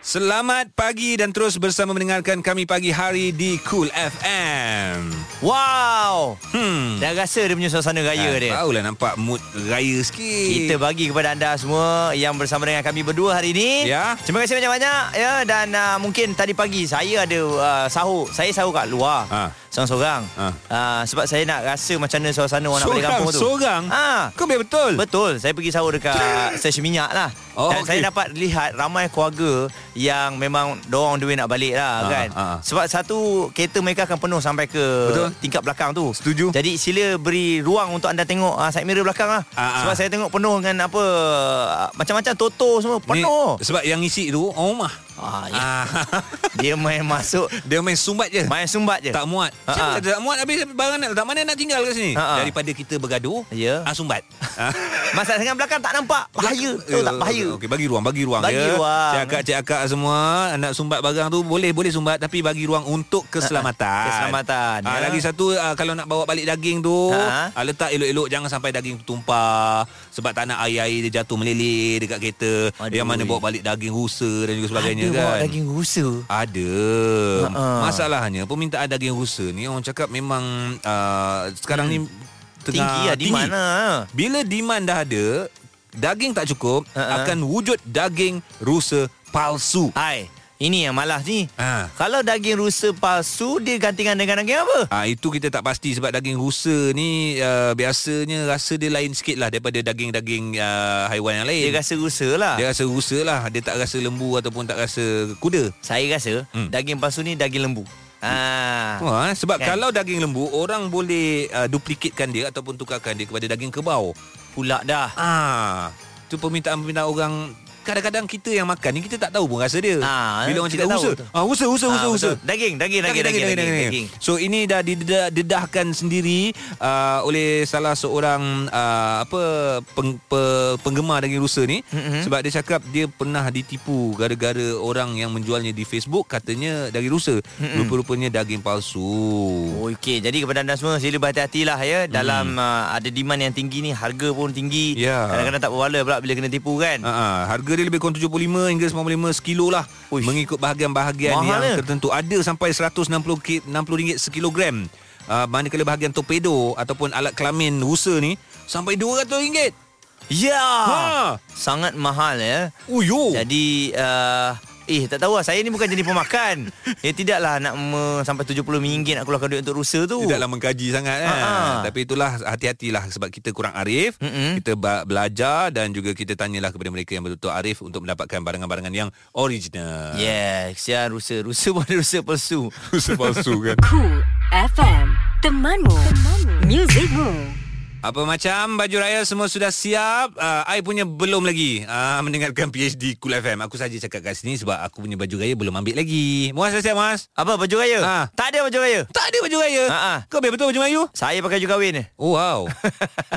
Speaker 3: Selamat pagi dan terus bersama mendengarkan kami pagi hari di Cool FM.
Speaker 2: Wow
Speaker 3: Hmm.
Speaker 2: Dah rasa dia punya suasana raya dia
Speaker 3: Barulah nampak mood raya sikit.
Speaker 2: Kita bagi kepada anda semua yang bersama dengan kami berdua hari ini.
Speaker 3: Ya.
Speaker 2: Terima kasih banyak-banyak ya dan uh, mungkin tadi pagi saya ada uh, sahur. Saya sahur kat luar.
Speaker 3: Ha.
Speaker 2: Seorang-seorang.
Speaker 3: Ha.
Speaker 2: Uh, sebab saya nak rasa macam mana suasana orang nak balik
Speaker 3: Seorang,
Speaker 2: kampung tu.
Speaker 3: seorang?
Speaker 2: Ah.
Speaker 3: Kau biar betul.
Speaker 2: Betul. Saya pergi sahur
Speaker 3: (laughs)
Speaker 2: dekat stesen minyak lah.
Speaker 3: Oh,
Speaker 2: dan
Speaker 3: okey.
Speaker 2: saya dapat lihat ramai keluarga yang memang dorong duit nak balik lah
Speaker 3: Ha,
Speaker 2: kan.
Speaker 3: ha.
Speaker 2: Sebab satu kereta mereka akan penuh sampai ke
Speaker 3: Betul.
Speaker 2: tingkap belakang tu.
Speaker 3: Setuju.
Speaker 2: Jadi sila beri ruang untuk anda tengok uh, side mirror belakang lah.
Speaker 3: Ah, ah.
Speaker 2: Sebab saya tengok penuh dengan apa ah, macam-macam toto semua
Speaker 3: Ni,
Speaker 2: penuh.
Speaker 3: sebab yang isi tu orang rumah.
Speaker 2: Ah, ya.
Speaker 3: Ah. (laughs)
Speaker 2: Dia main masuk
Speaker 3: Dia main sumbat je.
Speaker 2: main sumbat je.
Speaker 3: tak muat.
Speaker 2: Ha,
Speaker 3: Siapa
Speaker 2: ha.
Speaker 3: kata tak muat habis barang nak letak mana nak tinggal kat sini?
Speaker 2: Ha, ha.
Speaker 3: Daripada kita bergaduh,
Speaker 2: Ya.
Speaker 3: ah,
Speaker 2: (laughs)
Speaker 3: sumbat. Ah.
Speaker 2: Masalah dengan belakang tak nampak. Bahaya. Tahu tak bahaya.
Speaker 3: eh, Okey, bagi ruang, bagi ruang
Speaker 2: Bagi
Speaker 3: ya.
Speaker 2: ruang.
Speaker 3: Cakap-cakap semua nak sumbat barang tu boleh boleh sumbat tapi bagi ruang untuk keselamatan.
Speaker 2: Keselamatan,
Speaker 3: Ah,
Speaker 2: ya.
Speaker 3: lagi satu ah, kalau nak bawa balik daging tu,
Speaker 2: Ha.
Speaker 3: ah, letak elok-elok jangan sampai daging tu tumpah sebab tak nak air-air dia jatuh meleleh dekat kereta.
Speaker 2: Aduh. eh.
Speaker 3: Yang mana bawa balik daging rusa dan juga sebagainya
Speaker 2: Ada
Speaker 3: kan.
Speaker 2: bawa daging rusa.
Speaker 3: Ada. Masalahnya permintaan daging rusa ni orang cakap memang uh, sekarang ni tengah
Speaker 2: Hmm. Tinggi lah di mana.
Speaker 3: Bila demand dah ada, daging tak cukup
Speaker 2: Ha, ha.
Speaker 3: akan wujud daging rusa palsu.
Speaker 2: Hai. Ini yang malas ni. Ha. Kalau daging rusa palsu dia gantikan dengan daging apa?
Speaker 3: Ah itu kita tak pasti sebab daging rusa ni uh, biasanya rasa dia lain sikit lah daripada daging-daging uh, haiwan yang lain.
Speaker 2: Dia rasa rusa lah.
Speaker 3: Dia rasa rusa lah. Dia tak rasa lembu ataupun tak rasa kuda.
Speaker 2: Saya rasa hmm. daging palsu ni daging lembu. Ah.
Speaker 3: Wah, sebab kan? kalau daging lembu orang boleh uh, duplikatkan dia ataupun tukarkan dia kepada daging kerbau.
Speaker 2: Pula dah.
Speaker 3: Ah. Tu permintaan-permintaan orang kadang-kadang kita yang makan ni kita tak tahu pun rasa dia.
Speaker 2: Ah,
Speaker 3: Bila orang
Speaker 2: kita
Speaker 3: cakap
Speaker 2: tahu
Speaker 3: rusa.
Speaker 2: tu.
Speaker 3: Ah rusa rusa
Speaker 2: Ah,
Speaker 3: rusa
Speaker 2: betul.
Speaker 3: rusa.
Speaker 2: Daging, daging, daging, daging, daging,
Speaker 3: So ini dah didedah, dedahkan sendiri uh, oleh salah seorang uh, apa peng, pe, penggemar daging rusa ni
Speaker 2: Mhm.
Speaker 3: mm-hmm. sebab dia cakap dia pernah ditipu gara-gara orang yang menjualnya di Facebook katanya daging rusa.
Speaker 2: Mhm.
Speaker 3: Mm-hmm. Rupa-rupanya daging palsu.
Speaker 2: Okey, jadi kepada anda semua sila berhati-hatilah ya dalam hmm. uh, ada demand yang tinggi ni, harga pun tinggi.
Speaker 3: Ya.
Speaker 2: Kadang-kadang tak berwala pula bila kena tipu kan.
Speaker 3: Ha, harga dia lebih kurang 75 hingga 95 sekilo lah Uish. mengikut bahagian-bahagian yang
Speaker 2: Mahalnya.
Speaker 3: tertentu ada sampai 160 ki- 60 ringgit sekilogram. Uh, manakala bahagian torpedo ataupun alat kelamin rusa ni sampai 200 ringgit.
Speaker 2: Ya.
Speaker 3: Ha.
Speaker 2: Sangat mahal ya.
Speaker 3: Uyo.
Speaker 2: Jadi uh, eh tak tahu lah saya ni bukan jenis
Speaker 3: (laughs)
Speaker 2: pemakan. ya tidaklah nak me, sampai RM70 nak keluarkan duit untuk rusa tu.
Speaker 3: Tidaklah mengkaji sangat kan.
Speaker 2: Ha-ha.
Speaker 3: Tapi itulah hati-hatilah sebab kita kurang arif, mm-hmm. kita ba- belajar dan juga kita tanyalah kepada mereka yang betul-betul arif untuk mendapatkan barangan-barangan yang original.
Speaker 2: Yeah, kesian rusa. Rusa pun ada rusa palsu.
Speaker 3: Rusa (laughs) palsu kan.
Speaker 1: Cool FM Temanmu, Temanmu. Musicmu
Speaker 3: Apa macam baju raya semua sudah siap uh, I punya belum lagi uh, Mendengarkan PhD Cool FM Aku saja cakap kat sini Sebab aku punya baju raya belum ambil lagi Muaz dah siap Muaz?
Speaker 2: Apa baju raya?
Speaker 3: Ha.
Speaker 2: Tak ada baju raya.
Speaker 3: Tak ada baju raya?
Speaker 2: Ha ah.
Speaker 3: Kau ambil betul baju Melayu?
Speaker 2: Saya pakai baju kahwin ni.
Speaker 3: Oh
Speaker 2: (laughs)
Speaker 3: wow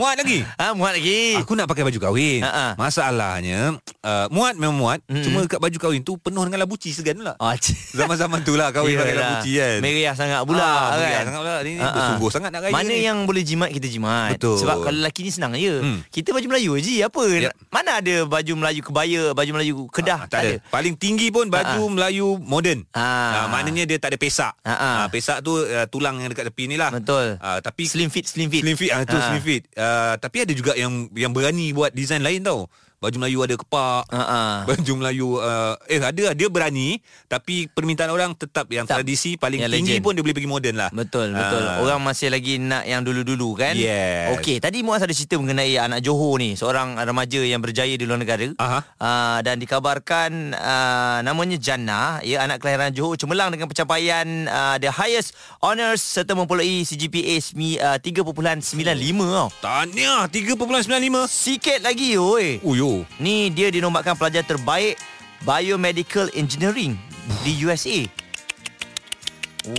Speaker 3: Muat lagi?
Speaker 2: Ha, muat lagi.
Speaker 3: Aku nak pakai baju kahwin
Speaker 2: Ha-ha.
Speaker 3: Masalahnya uh, Muat memang muat
Speaker 2: Hmm.
Speaker 3: mm-hmm. Cuma kat baju kahwin tu Penuh dengan labu ci segan pula
Speaker 2: Ah,
Speaker 3: Zaman-zaman tu lah kahwin pakai labu ci kan
Speaker 2: Meriah sangat pula
Speaker 3: Ah,
Speaker 2: kan.
Speaker 3: meriah sangat pula. Ni
Speaker 2: Ah, ah.
Speaker 3: bersungguh sangat nak raya
Speaker 2: Mana
Speaker 3: ni.
Speaker 2: yang boleh jimat kita jimat.
Speaker 3: Betul.
Speaker 2: Sebab kalau lelaki ni senang je.
Speaker 3: Hmm.
Speaker 2: Kita baju Melayu je apa. Mana ada baju Melayu kebaya, baju Melayu kedah.
Speaker 3: Ah, tak ada. Paling tinggi pun baju Melayu moden.
Speaker 2: Ah.
Speaker 3: Ah, maknanya dia tak ada pesak.
Speaker 2: Ah, ah.
Speaker 3: Ah, pesak tu ah, tulang yang dekat tepi ni lah.
Speaker 2: Betul.
Speaker 3: Ah, tapi
Speaker 2: Slim fit, slim fit.
Speaker 3: slim fit ah tu
Speaker 2: Ah.
Speaker 3: slim fit. Ah, tapi ada juga yang yang berani buat design lain tau. Baju Melayu ada kepak.
Speaker 2: Ha
Speaker 3: Baju Melayu ah, eh ada lah. dia berani tapi permintaan orang tetap yang tradisi paling
Speaker 2: Yang
Speaker 3: tinggi
Speaker 2: legend.
Speaker 3: pun dia boleh pergi moden lah.
Speaker 2: Betul, betul.
Speaker 3: Ah.
Speaker 2: Orang masih lagi nak yang dulu-dulu kan?
Speaker 3: Yes.
Speaker 2: Okey, tadi Muaz ada cerita mengenai anak Johor ni, seorang remaja yang berjaya di luar negara.
Speaker 3: Aha.
Speaker 2: Uh, dan dikabarkan uh, namanya Jannah, ya anak kelahiran Johor cemerlang dengan pencapaian uh, the highest honours serta memperoleh CGPA semi- uh, 3.95 tau.
Speaker 3: Tahniah 3.95.
Speaker 2: Oh, Sikit lagi oi.
Speaker 3: Uyo.
Speaker 2: Ni dia dinobatkan pelajar terbaik biomedical engineering di USA.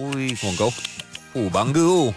Speaker 2: Uish.
Speaker 3: Oh kau. Oh bangga oh.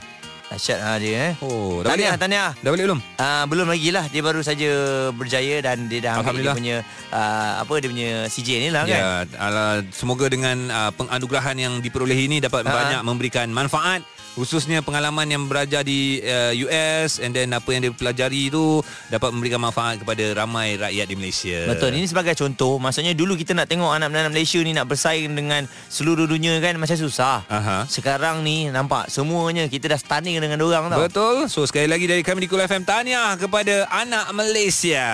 Speaker 2: Dahsyat lah dia eh.
Speaker 3: Oh, dah
Speaker 2: tahniah,
Speaker 3: balik dah?
Speaker 2: tahniah.
Speaker 3: Dah balik belum?
Speaker 2: Uh, belum lagi lah Dia baru saja berjaya Dan dia dah ambil dia
Speaker 3: Alhamdulillah.
Speaker 2: punya uh, Apa dia punya CJ ni lah kan
Speaker 3: Ya, ala, semoga dengan uh, penganugerahan yang diperolehi ini dapat
Speaker 2: Ha.
Speaker 3: banyak memberikan manfaat khususnya pengalaman yang berajar di uh, US and then apa yang dia pelajari itu dapat memberikan manfaat kepada ramai rakyat di Malaysia.
Speaker 2: Betul ini sebagai contoh Maksudnya dulu kita nak tengok Anak-anak Malaysia ni Nak bersaing dengan Seluruh dunia kan Macam susah
Speaker 3: Aha.
Speaker 2: Sekarang ni Nampak semuanya Kita dah stunning dengan orang tau
Speaker 3: Betul. So sekali lagi dari kami di Kul FM tahniah kepada anak Malaysia.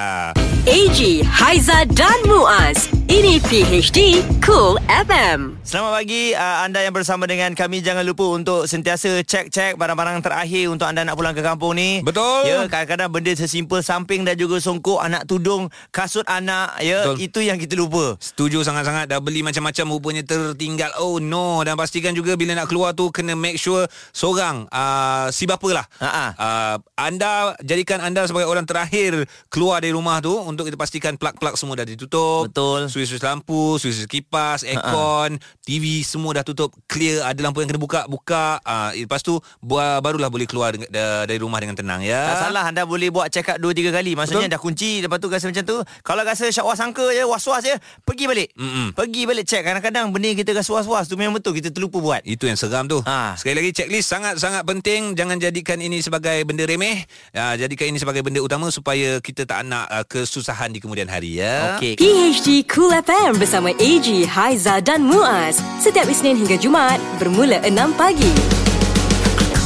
Speaker 1: AG, Haiza dan Muaz Ini PHD Cool FM
Speaker 2: Selamat pagi uh, anda yang bersama dengan kami jangan lupa untuk sentiasa cek-cek barang-barang terakhir untuk anda nak pulang ke kampung ni.
Speaker 3: Betul.
Speaker 2: Ya, kadang-kadang benda sesimpel samping dan juga songkok anak tudung, kasut anak ya,
Speaker 3: Betul.
Speaker 2: itu yang kita lupa.
Speaker 3: Setuju sangat-sangat Dah beli macam-macam Rupanya tertinggal Oh no Dan pastikan juga Bila nak keluar tu Kena make sure Seorang uh, Si bapa lah
Speaker 2: Ha-ha.
Speaker 3: uh, Anda Jadikan anda sebagai orang terakhir Keluar dari rumah tu Untuk kita pastikan Plug-plug semua dah ditutup
Speaker 2: Betul.
Speaker 3: Suis-suis lampu Suis-suis kipas Aircon TV semua dah tutup Clear Ada lampu yang kena buka Buka uh, Lepas tu bu- Barulah boleh keluar dengan- da- Dari rumah dengan tenang ya
Speaker 2: Tak salah anda boleh buat check up 2 3 kali. Maksudnya
Speaker 3: Betul.
Speaker 2: dah kunci lepas tu rasa macam tu. Kalau rasa syak sangka je, was-was je, pergi balik.
Speaker 3: Mm-mm.
Speaker 2: Pergi balik check. Kadang-kadang benda yang kita rasa was-was tu memang betul kita terlupa buat.
Speaker 3: Itu yang seram tu. Ha.
Speaker 2: Ha.
Speaker 3: Sekali lagi checklist sangat-sangat penting. Jangan jadikan ini sebagai benda remeh. Ya, jadikan ini sebagai benda utama supaya kita tak nak uh, kesusahan di kemudian hari ya.
Speaker 2: Okey.
Speaker 1: PHD Cool FM bersama AG, Haiza dan Muaz setiap Isnin hingga Jumaat bermula 6 pagi.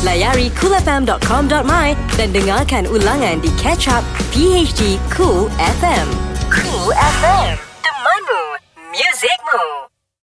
Speaker 1: Layari coolfm.com.my dan dengarkan ulangan di catch up PHD Cool FM.